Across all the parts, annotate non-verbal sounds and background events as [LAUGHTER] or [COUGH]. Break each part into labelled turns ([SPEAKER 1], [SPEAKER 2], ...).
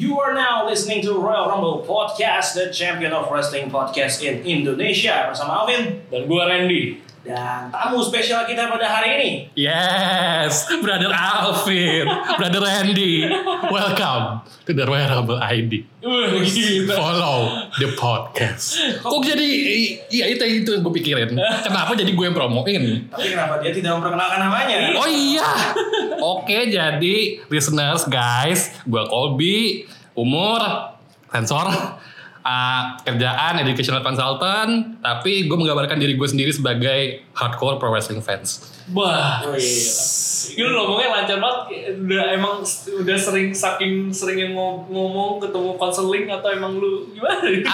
[SPEAKER 1] You are now listening to Royal Rumble Podcast, the champion of wrestling podcast in Indonesia bersama Alvin
[SPEAKER 2] Dan gue Randy.
[SPEAKER 1] dan tamu spesial kita pada hari ini.
[SPEAKER 3] Yes, brother Alvin, brother Randy, welcome to the Wearable ID.
[SPEAKER 2] Wah, gitu. gila.
[SPEAKER 3] Follow the podcast. Kok jadi iya itu itu yang gue pikirin. Kenapa jadi gue yang promoin?
[SPEAKER 1] Tapi kenapa dia tidak memperkenalkan namanya?
[SPEAKER 3] Oh iya. Oke, jadi listeners guys, gue Colby, umur, sensor, ah, kerjaan educational consultant, tapi gue menggambarkan diri gue sendiri sebagai hardcore pro wrestling fans.
[SPEAKER 2] Wah,
[SPEAKER 1] Oh, iya.
[SPEAKER 2] ini lu ngomongnya lancar banget. Udah emang udah sering saking sering yang ngo- ngomong ketemu konseling atau emang lu gimana?
[SPEAKER 3] Eh,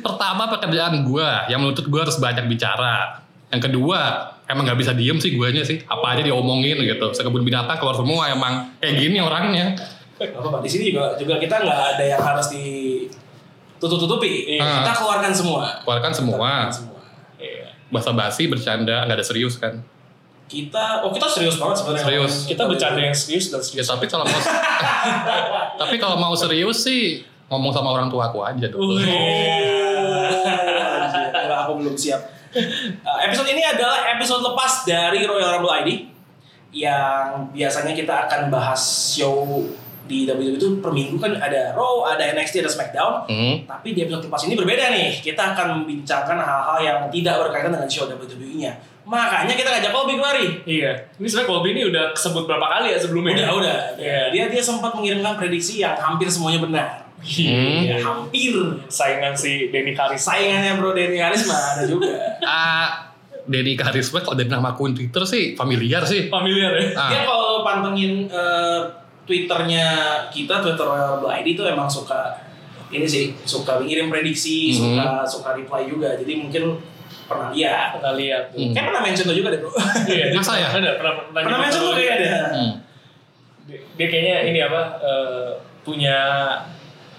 [SPEAKER 3] pertama pekerjaan gue yang menuntut gue harus banyak bicara. Yang kedua emang nggak bisa diem sih guanya sih. Apa aja diomongin gitu. Sekebun binatang keluar semua emang kayak gini orangnya.
[SPEAKER 1] Gak apa-apa, di sini juga juga kita nggak ada yang harus ditutup-tutupi.
[SPEAKER 3] Ah.
[SPEAKER 1] Kita keluarkan semua.
[SPEAKER 3] Keluarkan semua.
[SPEAKER 1] Keluarkan semua.
[SPEAKER 2] Iya.
[SPEAKER 3] Basa-basi bercanda nggak ada serius kan.
[SPEAKER 1] Kita, oh kita serius banget sebenarnya.
[SPEAKER 3] Serius.
[SPEAKER 2] Kita bercanda yang serius dan
[SPEAKER 3] Ya
[SPEAKER 2] serius.
[SPEAKER 3] tapi kalau mau [LAUGHS] tapi kalau mau serius sih ngomong sama orang tua aku aja
[SPEAKER 1] Oh,
[SPEAKER 3] dulu.
[SPEAKER 1] iya. Enggak, aku belum siap. Eh, episode ini adalah episode lepas dari Royal Rumble ID yang biasanya kita akan bahas show di WWE itu per minggu kan ada Raw, ada NXT, ada SmackDown.
[SPEAKER 3] Hmm.
[SPEAKER 1] Tapi di episode lepas ini berbeda nih. Kita akan membincangkan hal-hal yang tidak berkaitan dengan show WWE-nya. Makanya kita ngajak Colby kemari.
[SPEAKER 2] Iya. Ini sebenarnya Kobe ini udah kesebut berapa kali ya sebelumnya?
[SPEAKER 3] Oh,
[SPEAKER 1] Udah, udah.
[SPEAKER 2] Iya.
[SPEAKER 1] Dia dia sempat mengirimkan prediksi yang hampir semuanya benar.
[SPEAKER 3] hmm.
[SPEAKER 2] Iya.
[SPEAKER 1] Ya, hampir.
[SPEAKER 2] Saingan si Denny Karis.
[SPEAKER 1] Saingannya Bro Denny Karisma ada juga.
[SPEAKER 3] Ah, Denny Karisma kalau dari nama akun Twitter sih familiar sih.
[SPEAKER 2] Familiar ya?
[SPEAKER 1] Dia
[SPEAKER 3] Ah,
[SPEAKER 1] kalau pantengin eh, Twitternya kita, Twitter Royal ID itu emang suka ini sih, suka ngirim prediksi,
[SPEAKER 3] Mhm.
[SPEAKER 1] suka suka reply juga. Jadi mungkin pernah lihat.
[SPEAKER 2] Pernah lihat. tuh.
[SPEAKER 3] Hmm.
[SPEAKER 1] Kayak pernah mention lo juga deh bro.
[SPEAKER 2] Iya.
[SPEAKER 3] Masa ya?
[SPEAKER 2] Pernah, pernah, pernah,
[SPEAKER 1] pernah mention lo kayaknya ada.
[SPEAKER 3] hmm.
[SPEAKER 2] dia dia kayaknya ini apa eh, punya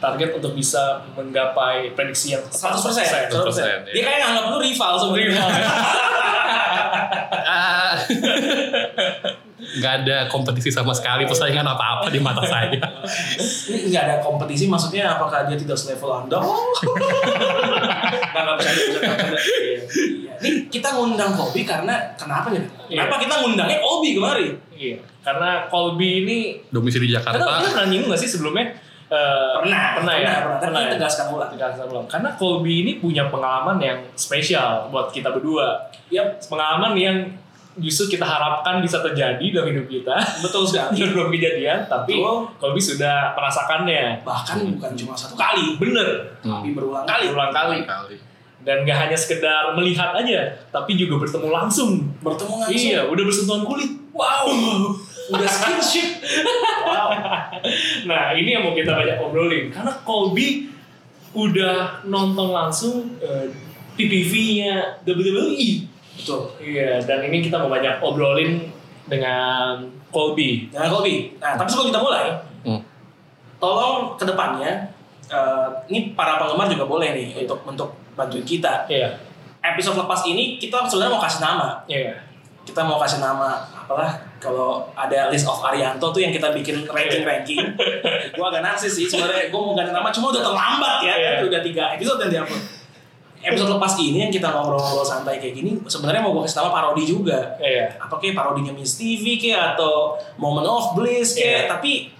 [SPEAKER 2] target untuk bisa menggapai prediksi yang
[SPEAKER 1] 100 persen,
[SPEAKER 2] 100%.
[SPEAKER 3] 100%,
[SPEAKER 1] Dia kayak nganggap lu rival sebenarnya.
[SPEAKER 3] Ah. [LAUGHS] nggak ada kompetisi sama sekali persaingan apa-apa di mata saya
[SPEAKER 1] [LAUGHS]
[SPEAKER 2] [LAUGHS]
[SPEAKER 1] Ini nggak ada kompetisi, maksudnya apakah dia tidak selevel anda? Oh. Nggak nggak bercanda, bercanda, bercanda. Iya. Ini kita ngundang Kobi karena kenapa nih?
[SPEAKER 2] Iya.
[SPEAKER 1] Kenapa kita ngundangnya Kobi kemarin?
[SPEAKER 2] Iya, karena Colby ini
[SPEAKER 3] domisili
[SPEAKER 2] karena kita
[SPEAKER 3] Jakarta
[SPEAKER 2] pernah nyinggung nggak sih sebelumnya Eh,
[SPEAKER 1] Pernah,
[SPEAKER 2] pernah ya
[SPEAKER 1] pernah, pernah. Tapi
[SPEAKER 2] ya?
[SPEAKER 1] tegaskan ulang.
[SPEAKER 2] Tegaskan ulang. karena Colby ini punya pengalaman yang spesial buat kita berdua
[SPEAKER 1] Yap,
[SPEAKER 2] pengalaman yang justru kita harapkan bisa terjadi dalam hidup
[SPEAKER 1] [LAUGHS]
[SPEAKER 2] kita
[SPEAKER 1] betul sekali.
[SPEAKER 2] belum kejadian tapi
[SPEAKER 1] Betul.
[SPEAKER 2] Colby sudah merasakannya
[SPEAKER 1] Bahkan bukan cuma satu kali,
[SPEAKER 2] bener
[SPEAKER 1] tapi berulang kali.
[SPEAKER 2] berulang kali
[SPEAKER 3] Hmm. kali
[SPEAKER 2] dan gak hanya sekedar melihat aja tapi juga bertemu langsung
[SPEAKER 1] Bertemu langsung.
[SPEAKER 2] iya udah bersentuhan kulit
[SPEAKER 1] Wow. Udah skinship. wow.
[SPEAKER 2] nah ini yang mau kita banyak obrolin karena Colby udah nonton langsung eh, PPV-nya WWE
[SPEAKER 1] Betul.
[SPEAKER 2] E. iya dan ini kita mau banyak obrolin dengan Colby
[SPEAKER 1] Jangan kopi. Nah, tapi sebelum kita mulai,
[SPEAKER 3] Hmm.
[SPEAKER 1] tolong kedepannya, eh ini para penggemar juga boleh nih untuk untuk bantuin kita.
[SPEAKER 2] iya
[SPEAKER 1] Episode lepas ini kita sebenarnya mau kasih nama.
[SPEAKER 2] iya
[SPEAKER 1] Kita mau kasih nama apalah kalau ada list of Arianto tuh yang kita bikin ranking-ranking. gue agak narsis sih sebenarnya. Gue mau ganti nama cuma udah terlambat ya.
[SPEAKER 2] Iya.
[SPEAKER 1] kan? Udah tiga episode yang diupload. Episode lepas ini yang kita ngobrol-ngobrol santai kayak gini sebenarnya mau gue kasih nama parodi juga
[SPEAKER 2] iya
[SPEAKER 1] apa kayak parodinya Miss TV kayak atau Moment of Bliss kayak
[SPEAKER 2] Iya.
[SPEAKER 1] tapi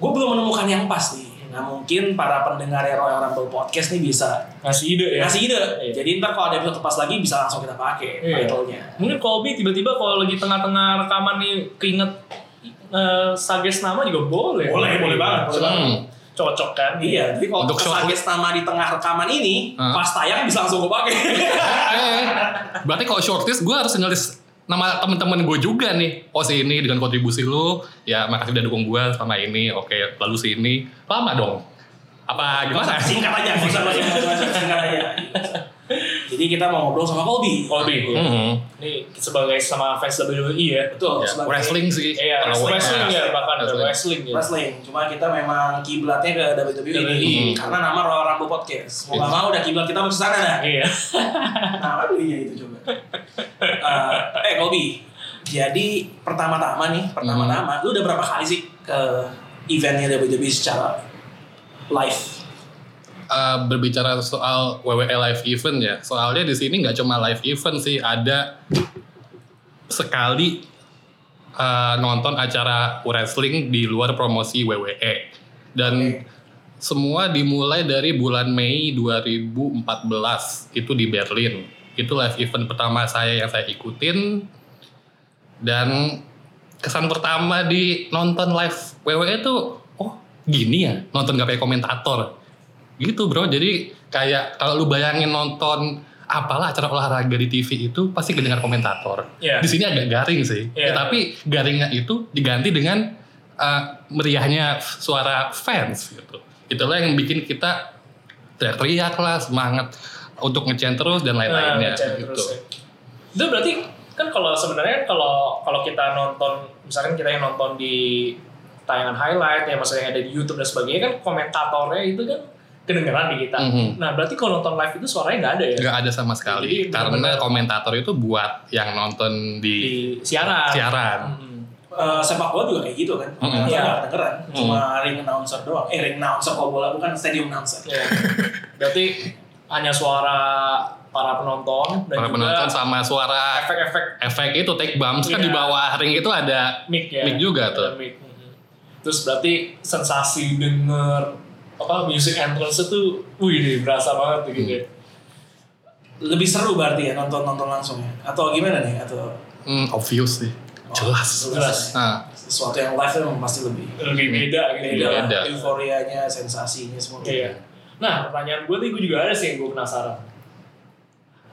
[SPEAKER 1] gue belum menemukan yang pas nih nah mungkin para pendengar Royal Rumble Podcast nih bisa
[SPEAKER 2] ngasih ide ya
[SPEAKER 1] ngasih ide
[SPEAKER 2] Iya.
[SPEAKER 1] jadi ntar kalau ada episode lepas lagi bisa langsung kita pakai
[SPEAKER 2] Iya.
[SPEAKER 1] title-nya
[SPEAKER 2] mungkin Colby tiba-tiba kalau lagi tengah-tengah rekaman nih keinget eh, suggest nama juga boleh
[SPEAKER 1] Boleh, boleh banget, boleh
[SPEAKER 2] Senang.
[SPEAKER 3] banget.
[SPEAKER 2] cocok kan
[SPEAKER 1] iya jadi kalau
[SPEAKER 3] Untuk short-
[SPEAKER 1] kesages nama di tengah rekaman ini
[SPEAKER 3] Hah?
[SPEAKER 1] pas tayang bisa langsung gue pakai
[SPEAKER 3] eh berarti kalau shortlist gue harus ngelis nama temen-temen gue juga nih oh si ini dengan kontribusi lu ya makasih udah dukung gue selama ini oke lalu si ini lama dong apa gimana
[SPEAKER 1] singkat aja nggak usah banyak macam-macam, singkat aja jadi kita mau ngobrol sama Colby
[SPEAKER 2] Colby
[SPEAKER 3] Hmm.
[SPEAKER 2] Ini sebagai sama fans WWE ya.
[SPEAKER 1] betul
[SPEAKER 3] Ya,
[SPEAKER 1] sebagai
[SPEAKER 3] wrestling sih
[SPEAKER 2] Iya,
[SPEAKER 3] Kalau gue-
[SPEAKER 2] wrestling ya bahkan ada
[SPEAKER 3] Wrestling.
[SPEAKER 2] wrestling ya.
[SPEAKER 1] wrestling cuma kita memang kiblatnya ke WWE ini
[SPEAKER 3] Hmm. Iya.
[SPEAKER 1] karena nama Royal Rumble Podcast mau gak mau udah kiblat kita harus kesana dah
[SPEAKER 2] Iya.
[SPEAKER 1] nah belinya itu coba Eh,
[SPEAKER 3] Hmm.
[SPEAKER 1] eh Kobi jadi pertama-tama nih pertama-tama lu udah berapa kali sih ke eventnya WWE secara live.
[SPEAKER 3] Eh, berbicara soal WWE live event ya, soalnya di sini nggak cuma live event sih, ada sekali eh, nonton acara wrestling di luar promosi WWE dan semua dimulai dari bulan Mei 2014 itu di Berlin. Itu live event pertama saya yang saya ikutin dan kesan pertama di nonton live WWE itu oh gini ya nonton gak kayak komentator gitu bro jadi kayak kalau lu bayangin nonton apalah acara olahraga di TV itu pasti kedengar komentator
[SPEAKER 2] Iya.
[SPEAKER 3] di sini agak garing sih
[SPEAKER 2] Iya.
[SPEAKER 3] Ya, tapi garingnya itu diganti dengan eh, meriahnya suara fans gitu itulah yang bikin kita teriak lah semangat untuk ngecen terus dan lain-lainnya
[SPEAKER 2] ngechat
[SPEAKER 3] gitu
[SPEAKER 2] Nah, terus ya. Itu berarti kan kalau sebenarnya kalau kalau kita nonton misalkan kita yang nonton di tayangan highlight ya maksudnya yang ada di YouTube dan sebagainya kan komentatornya itu kan kedengeran di kita.
[SPEAKER 3] Mhm.
[SPEAKER 2] Nah, berarti kalau nonton live itu suaranya nggak ada ya
[SPEAKER 3] nggak ada sama sekali
[SPEAKER 2] Jadi,
[SPEAKER 3] karena
[SPEAKER 2] benar-benar-
[SPEAKER 3] komentator itu buat yang nonton di
[SPEAKER 2] di siaran.
[SPEAKER 3] siaran
[SPEAKER 2] Mhm.
[SPEAKER 1] Eh, sepak bola juga kayak gitu kan, mm
[SPEAKER 3] Mm-mm.
[SPEAKER 1] kedengeran, cuma ring announcer doang. Eh ring announcer kalau bola bukan stadium announcer.
[SPEAKER 2] Ya. Berarti hanya suara para penonton dan
[SPEAKER 3] para
[SPEAKER 2] juga
[SPEAKER 3] penonton sama suara
[SPEAKER 2] efek-efek
[SPEAKER 3] efek itu take bumps kan
[SPEAKER 2] Iya.
[SPEAKER 3] di bawah ring itu ada
[SPEAKER 2] mic ya.
[SPEAKER 3] mic juga tuh
[SPEAKER 2] Ada mic. Mhm. Terus berarti sensasi denger apa music entrance itu wih deh, berasa banget tuh
[SPEAKER 3] Hmm.
[SPEAKER 2] gitu. ya.
[SPEAKER 1] Lebih seru berarti ya nonton nonton langsung ya? Atau gimana nih? Atau
[SPEAKER 3] Hmm, obvious sih
[SPEAKER 1] oh,
[SPEAKER 3] jelas
[SPEAKER 2] jelas.
[SPEAKER 3] nah
[SPEAKER 1] Sesuatu yang live itu memang pasti lebih.
[SPEAKER 2] Lebih beda gitu.
[SPEAKER 1] Beda
[SPEAKER 2] ya.
[SPEAKER 1] lah,
[SPEAKER 3] Beda.
[SPEAKER 1] euforianya, sensasinya semua. gitu.
[SPEAKER 2] Iya. Nah, pertanyaan gue nih gue juga ada sih yang gue penasaran.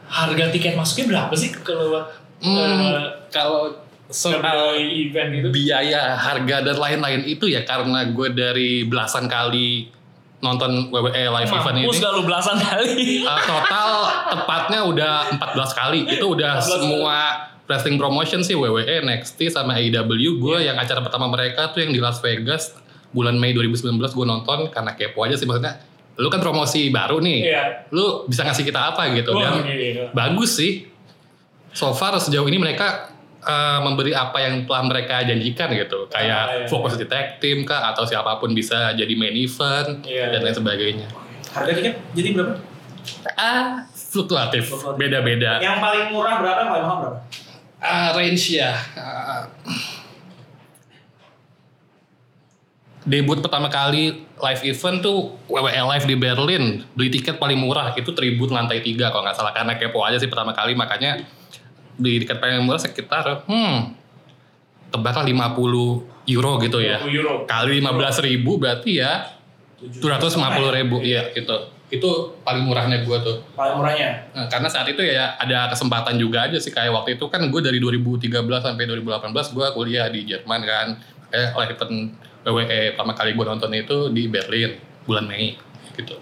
[SPEAKER 2] Harga tiket masuknya berapa sih kalau
[SPEAKER 3] hmm, uh,
[SPEAKER 2] eh,
[SPEAKER 3] kalau soal
[SPEAKER 2] WWE event gitu?
[SPEAKER 3] biaya harga dan lain-lain itu ya karena gue dari belasan kali nonton WWE live event ini
[SPEAKER 2] Mampus gak lu belasan kali.
[SPEAKER 3] Uh, total tepatnya udah 14 kali. Itu udah
[SPEAKER 2] 14
[SPEAKER 3] semua wrestling promotion sih E, WWE, NXT sama AEW. Gue yang acara pertama mereka tuh yang di Las Vegas bulan Mei 2019 gue nonton karena kepo aja sih maksudnya. Lu kan promosi baru nih.
[SPEAKER 2] Iya.
[SPEAKER 3] Lu bisa ngasih kita apa gitu
[SPEAKER 2] Wah,
[SPEAKER 3] dan
[SPEAKER 2] gini, gini.
[SPEAKER 3] bagus sih. So far sejauh ini mereka uh, memberi apa yang telah mereka janjikan gitu. Kayak
[SPEAKER 2] Ah, iya.
[SPEAKER 3] fokus di tag team kah atau siapapun bisa jadi main event
[SPEAKER 2] Iya,
[SPEAKER 3] dan
[SPEAKER 2] iya.
[SPEAKER 3] lain sebagainya.
[SPEAKER 1] Harga tiket jadi berapa?
[SPEAKER 3] Ah, fluktuatif,
[SPEAKER 1] Fluktuatif.
[SPEAKER 3] beda-beda.
[SPEAKER 1] Yang paling murah berapa? Yang paling mahal berapa?
[SPEAKER 3] Ah, range ya. Ah. debut pertama kali live event tuh WWE Live di Berlin. Beli tiket paling murah itu tribun lantai 3 kalau nggak salah karena kepo aja sih pertama kali makanya beli tiket paling murah sekitar hmm tebaklah 50 euro gitu ya.
[SPEAKER 2] 20
[SPEAKER 3] [LAUGHS]
[SPEAKER 2] euro.
[SPEAKER 3] Kali 15 ribu berarti ya 250 ribu ya gitu. Itu paling murahnya gua tuh.
[SPEAKER 1] Paling murahnya.
[SPEAKER 3] Nah, karena saat itu ya ada kesempatan juga aja sih kayak waktu itu kan gue dari 2013 sampai 2018 gue kuliah di Jerman kan eh live event WWE E pertama kali gue nonton itu di Berlin bulan Mei gitu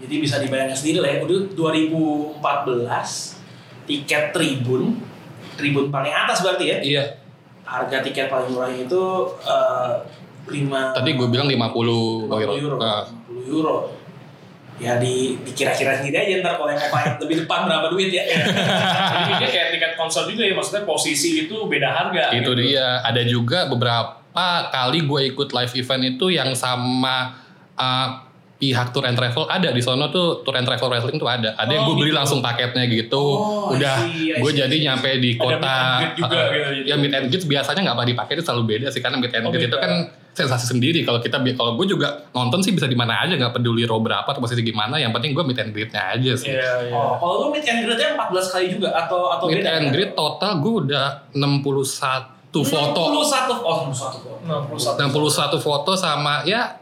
[SPEAKER 1] Jadi bisa dibayangkan sendiri lah ya. Udah 2014 tiket tribun, tribun paling atas berarti ya.
[SPEAKER 3] iya
[SPEAKER 1] Harga tiket paling murahnya itu eh, 5
[SPEAKER 3] tadi gue bilang 50 euro,
[SPEAKER 1] 50 euro.
[SPEAKER 3] Nah,
[SPEAKER 1] 50 euro. Ya di dikira-kira sendiri aja ntar kalau yang mau paling [LAUGHS] lebih depan berapa duit ya.
[SPEAKER 3] Iya.
[SPEAKER 2] Jadi dia kayak tiket konser juga ya, maksudnya posisi itu beda harga.
[SPEAKER 3] itu
[SPEAKER 2] gitu.
[SPEAKER 3] dia ada juga beberapa kali gue ikut live event itu yang sama eh, pihak tour and travel ada di sono tuh tour and travel wrestling tuh ada ada yang
[SPEAKER 2] Oh,
[SPEAKER 3] gue beli
[SPEAKER 2] gitu.
[SPEAKER 3] langsung paketnya gitu
[SPEAKER 1] Oh, I
[SPEAKER 3] udah
[SPEAKER 1] see, I
[SPEAKER 3] gue
[SPEAKER 1] see.
[SPEAKER 3] jadi nyampe
[SPEAKER 2] Ada
[SPEAKER 3] di
[SPEAKER 2] meet
[SPEAKER 3] kota
[SPEAKER 2] and greet juga
[SPEAKER 3] eh,
[SPEAKER 2] gitu, jadi.
[SPEAKER 3] ya meet and greet biasanya nggak pernah dipakai itu selalu beda sih karena meet and
[SPEAKER 2] Oh,
[SPEAKER 3] greet itu
[SPEAKER 2] beda.
[SPEAKER 3] kan sensasi sendiri kalau kita bi- kalau gue juga nonton sih bisa di mana aja nggak peduli row berapa atau posisi gimana yang penting gue meet and greetnya aja sih
[SPEAKER 2] Iya, iya.
[SPEAKER 1] Oh, kalau lu meet and greet-nya 14 kali juga atau atau beda?
[SPEAKER 3] meet
[SPEAKER 2] ya.
[SPEAKER 1] kan?
[SPEAKER 3] and greet total gue udah 61 foto
[SPEAKER 1] 61 oh 61 foto.
[SPEAKER 2] 61.
[SPEAKER 3] 61 foto sama ya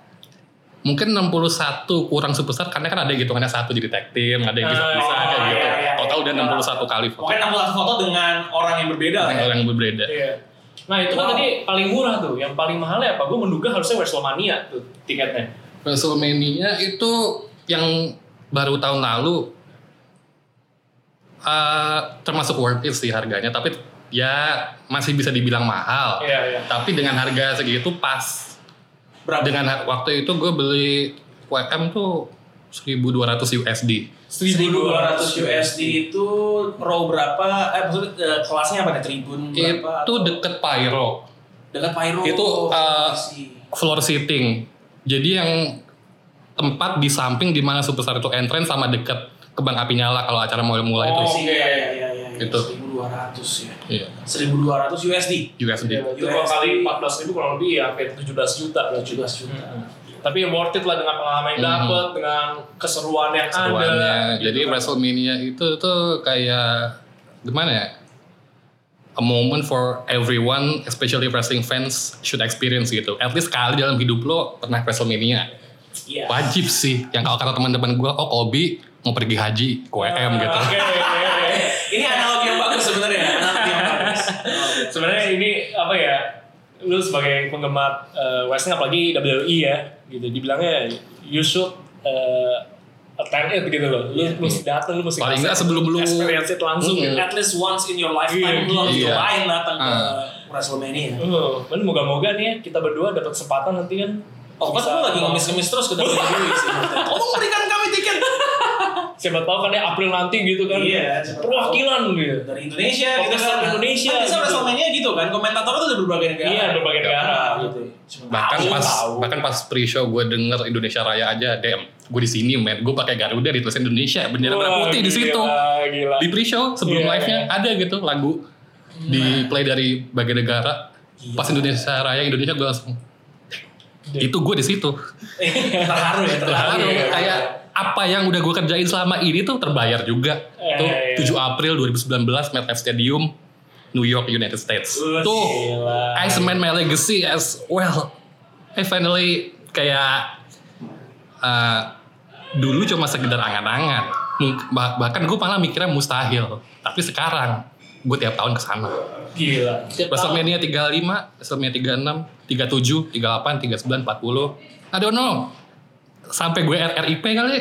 [SPEAKER 3] mungkin 61 kurang sebesar karena kan ada hitungannya satu jadi tag team, ada yang bisa
[SPEAKER 2] Ah,
[SPEAKER 3] bisa kayak
[SPEAKER 1] iya,
[SPEAKER 3] gitu.
[SPEAKER 1] iya,
[SPEAKER 3] Total
[SPEAKER 1] iya.
[SPEAKER 3] udah 61 kali foto.
[SPEAKER 1] Pokoknya 61 foto dengan orang yang berbeda lah ya.
[SPEAKER 3] Orang yang berbeda.
[SPEAKER 2] Iya. Nah itu kan
[SPEAKER 1] Wow.
[SPEAKER 2] tadi paling murah tuh, yang paling mahalnya apa? Gue menduga harusnya Wrestlemania tuh tiketnya.
[SPEAKER 3] WrestleMania itu yang baru tahun lalu eh, termasuk worth it sih harganya, tapi ya masih bisa dibilang mahal.
[SPEAKER 2] Iya, iya.
[SPEAKER 3] Tapi dengan harga segitu pas.
[SPEAKER 1] Berapa?
[SPEAKER 3] Dengan har- waktu itu gue beli WM tuh 1200 USD.
[SPEAKER 1] 1200 USD itu row berapa? Eh maksudnya eh, kelasnya apa nih? Tribun berapa?
[SPEAKER 3] itu
[SPEAKER 1] atau-
[SPEAKER 3] deket pyro
[SPEAKER 1] dekat Pyro.
[SPEAKER 3] Itu,
[SPEAKER 1] Oh, I
[SPEAKER 3] eh,
[SPEAKER 1] see.
[SPEAKER 3] floor seating. Jadi yang tempat di samping di mana superstar itu entrance sama deket kebang api nyala kalau acara mulai mulai
[SPEAKER 2] Oh,
[SPEAKER 3] itu.
[SPEAKER 1] sih, iya, iya, iya, iya, iya.
[SPEAKER 3] Gitu.
[SPEAKER 1] 1200 ya.
[SPEAKER 3] Iya.
[SPEAKER 1] 1200 USD.
[SPEAKER 3] USD.
[SPEAKER 2] Ya, itu kalau kali 14 ribu kurang lebih ya hampir 17 juta berarti.
[SPEAKER 1] 17 juta.
[SPEAKER 2] Hmm. Tapi worth it lah dengan pengalaman yang
[SPEAKER 3] Mhm.
[SPEAKER 2] dapat, dengan keseruan yang
[SPEAKER 3] Seruannya.
[SPEAKER 2] ada. gitu
[SPEAKER 3] Jadi
[SPEAKER 2] kan.
[SPEAKER 3] WrestleMania itu tuh kayak gimana ya? A moment for everyone, especially wrestling fans should experience gitu. At least sekali dalam hidup lo pernah WrestleMania.
[SPEAKER 1] Iya.
[SPEAKER 3] Wajib sih. Yang kalau kata teman-teman gue, oh Kobe mau pergi haji ke
[SPEAKER 2] Ah,
[SPEAKER 3] WM gitu.
[SPEAKER 2] oke, oke, oke.
[SPEAKER 1] Ini analogi yang bagus [LAUGHS] sebenarnya. Analogi yang bagus.
[SPEAKER 2] Sebenarnya ini apa ya? Lu sebagai penggemar eh, wrestling apalagi WWE ya, gitu. Dibilangnya you should eh, attend it gitu loh. Lu mesti datang, lu mesti
[SPEAKER 3] Iya, Paling
[SPEAKER 2] nggak
[SPEAKER 3] nggak sebelum lu-
[SPEAKER 2] experience it langsung
[SPEAKER 3] Mhm.
[SPEAKER 2] gitu.
[SPEAKER 1] At least once in your lifetime
[SPEAKER 2] Iya,
[SPEAKER 1] Kan lu harus
[SPEAKER 3] iya.
[SPEAKER 1] cobain datang ke
[SPEAKER 3] Ah.
[SPEAKER 1] WrestleMania.
[SPEAKER 2] Oh, bener, moga-moga nih ya, kita berdua dapat kesempatan nanti kan.
[SPEAKER 1] Oh, pas
[SPEAKER 2] Bisa-
[SPEAKER 1] lu lagi ngemis-ngemis terus [LAUGHS] ketemu Dewi sih. Tolong berikan kami tiket.
[SPEAKER 2] Siapa tahu kan ya April nanti gitu kan.
[SPEAKER 1] Iya, siapa
[SPEAKER 2] Perwakilan gitu.
[SPEAKER 1] Dari Indonesia gitu
[SPEAKER 2] Komentar
[SPEAKER 1] kan.
[SPEAKER 2] Indonesia,
[SPEAKER 1] Kan bisa
[SPEAKER 2] gitu.
[SPEAKER 1] WrestleMania gitu kan. Komentator tuh dari berbagai negara.
[SPEAKER 2] Iya, berbagai negara gitu.
[SPEAKER 1] Cuma-
[SPEAKER 3] bahkan
[SPEAKER 2] Tahu,
[SPEAKER 3] pas
[SPEAKER 2] tahu.
[SPEAKER 3] bahkan pas pre-show gue denger Indonesia Raya aja DM gue di sini men gue pakai Garuda di tulisan Indonesia bendera merah
[SPEAKER 2] Wah,
[SPEAKER 3] putih di situ
[SPEAKER 2] Gila, gila.
[SPEAKER 3] di pre-show
[SPEAKER 2] Iya,
[SPEAKER 3] sebelum
[SPEAKER 2] Nah.
[SPEAKER 3] live-nya ada gitu lagu di play dari bagai negara
[SPEAKER 1] Gila.
[SPEAKER 3] pas Indonesia Raya Indonesia gue langsung
[SPEAKER 2] Iya.
[SPEAKER 3] itu gue di situ
[SPEAKER 1] Eh, terharu [LAUGHS] ya, terharu.
[SPEAKER 2] iya,
[SPEAKER 3] Terharu,
[SPEAKER 2] iya.
[SPEAKER 3] kayak apa yang udah gue kerjain selama ini tuh terbayar juga
[SPEAKER 2] Iya,
[SPEAKER 3] tuh
[SPEAKER 2] iya.
[SPEAKER 3] 7 April 2019 MetLife Stadium New York United States
[SPEAKER 2] Wah,
[SPEAKER 3] tuh
[SPEAKER 2] gila.
[SPEAKER 3] I cement my legacy as well. I finally kayak uh, dulu cuma sekedar angan-angan. Mung- bah- bahkan gue malah mikirnya mustahil. Tapi sekarang gue tiap tahun ke sana.
[SPEAKER 2] Gila. Tiap
[SPEAKER 3] WrestleMania 35, WrestleMania 36, 37, 38, 39, 40. I don't know. Sampai gue RRIP kali.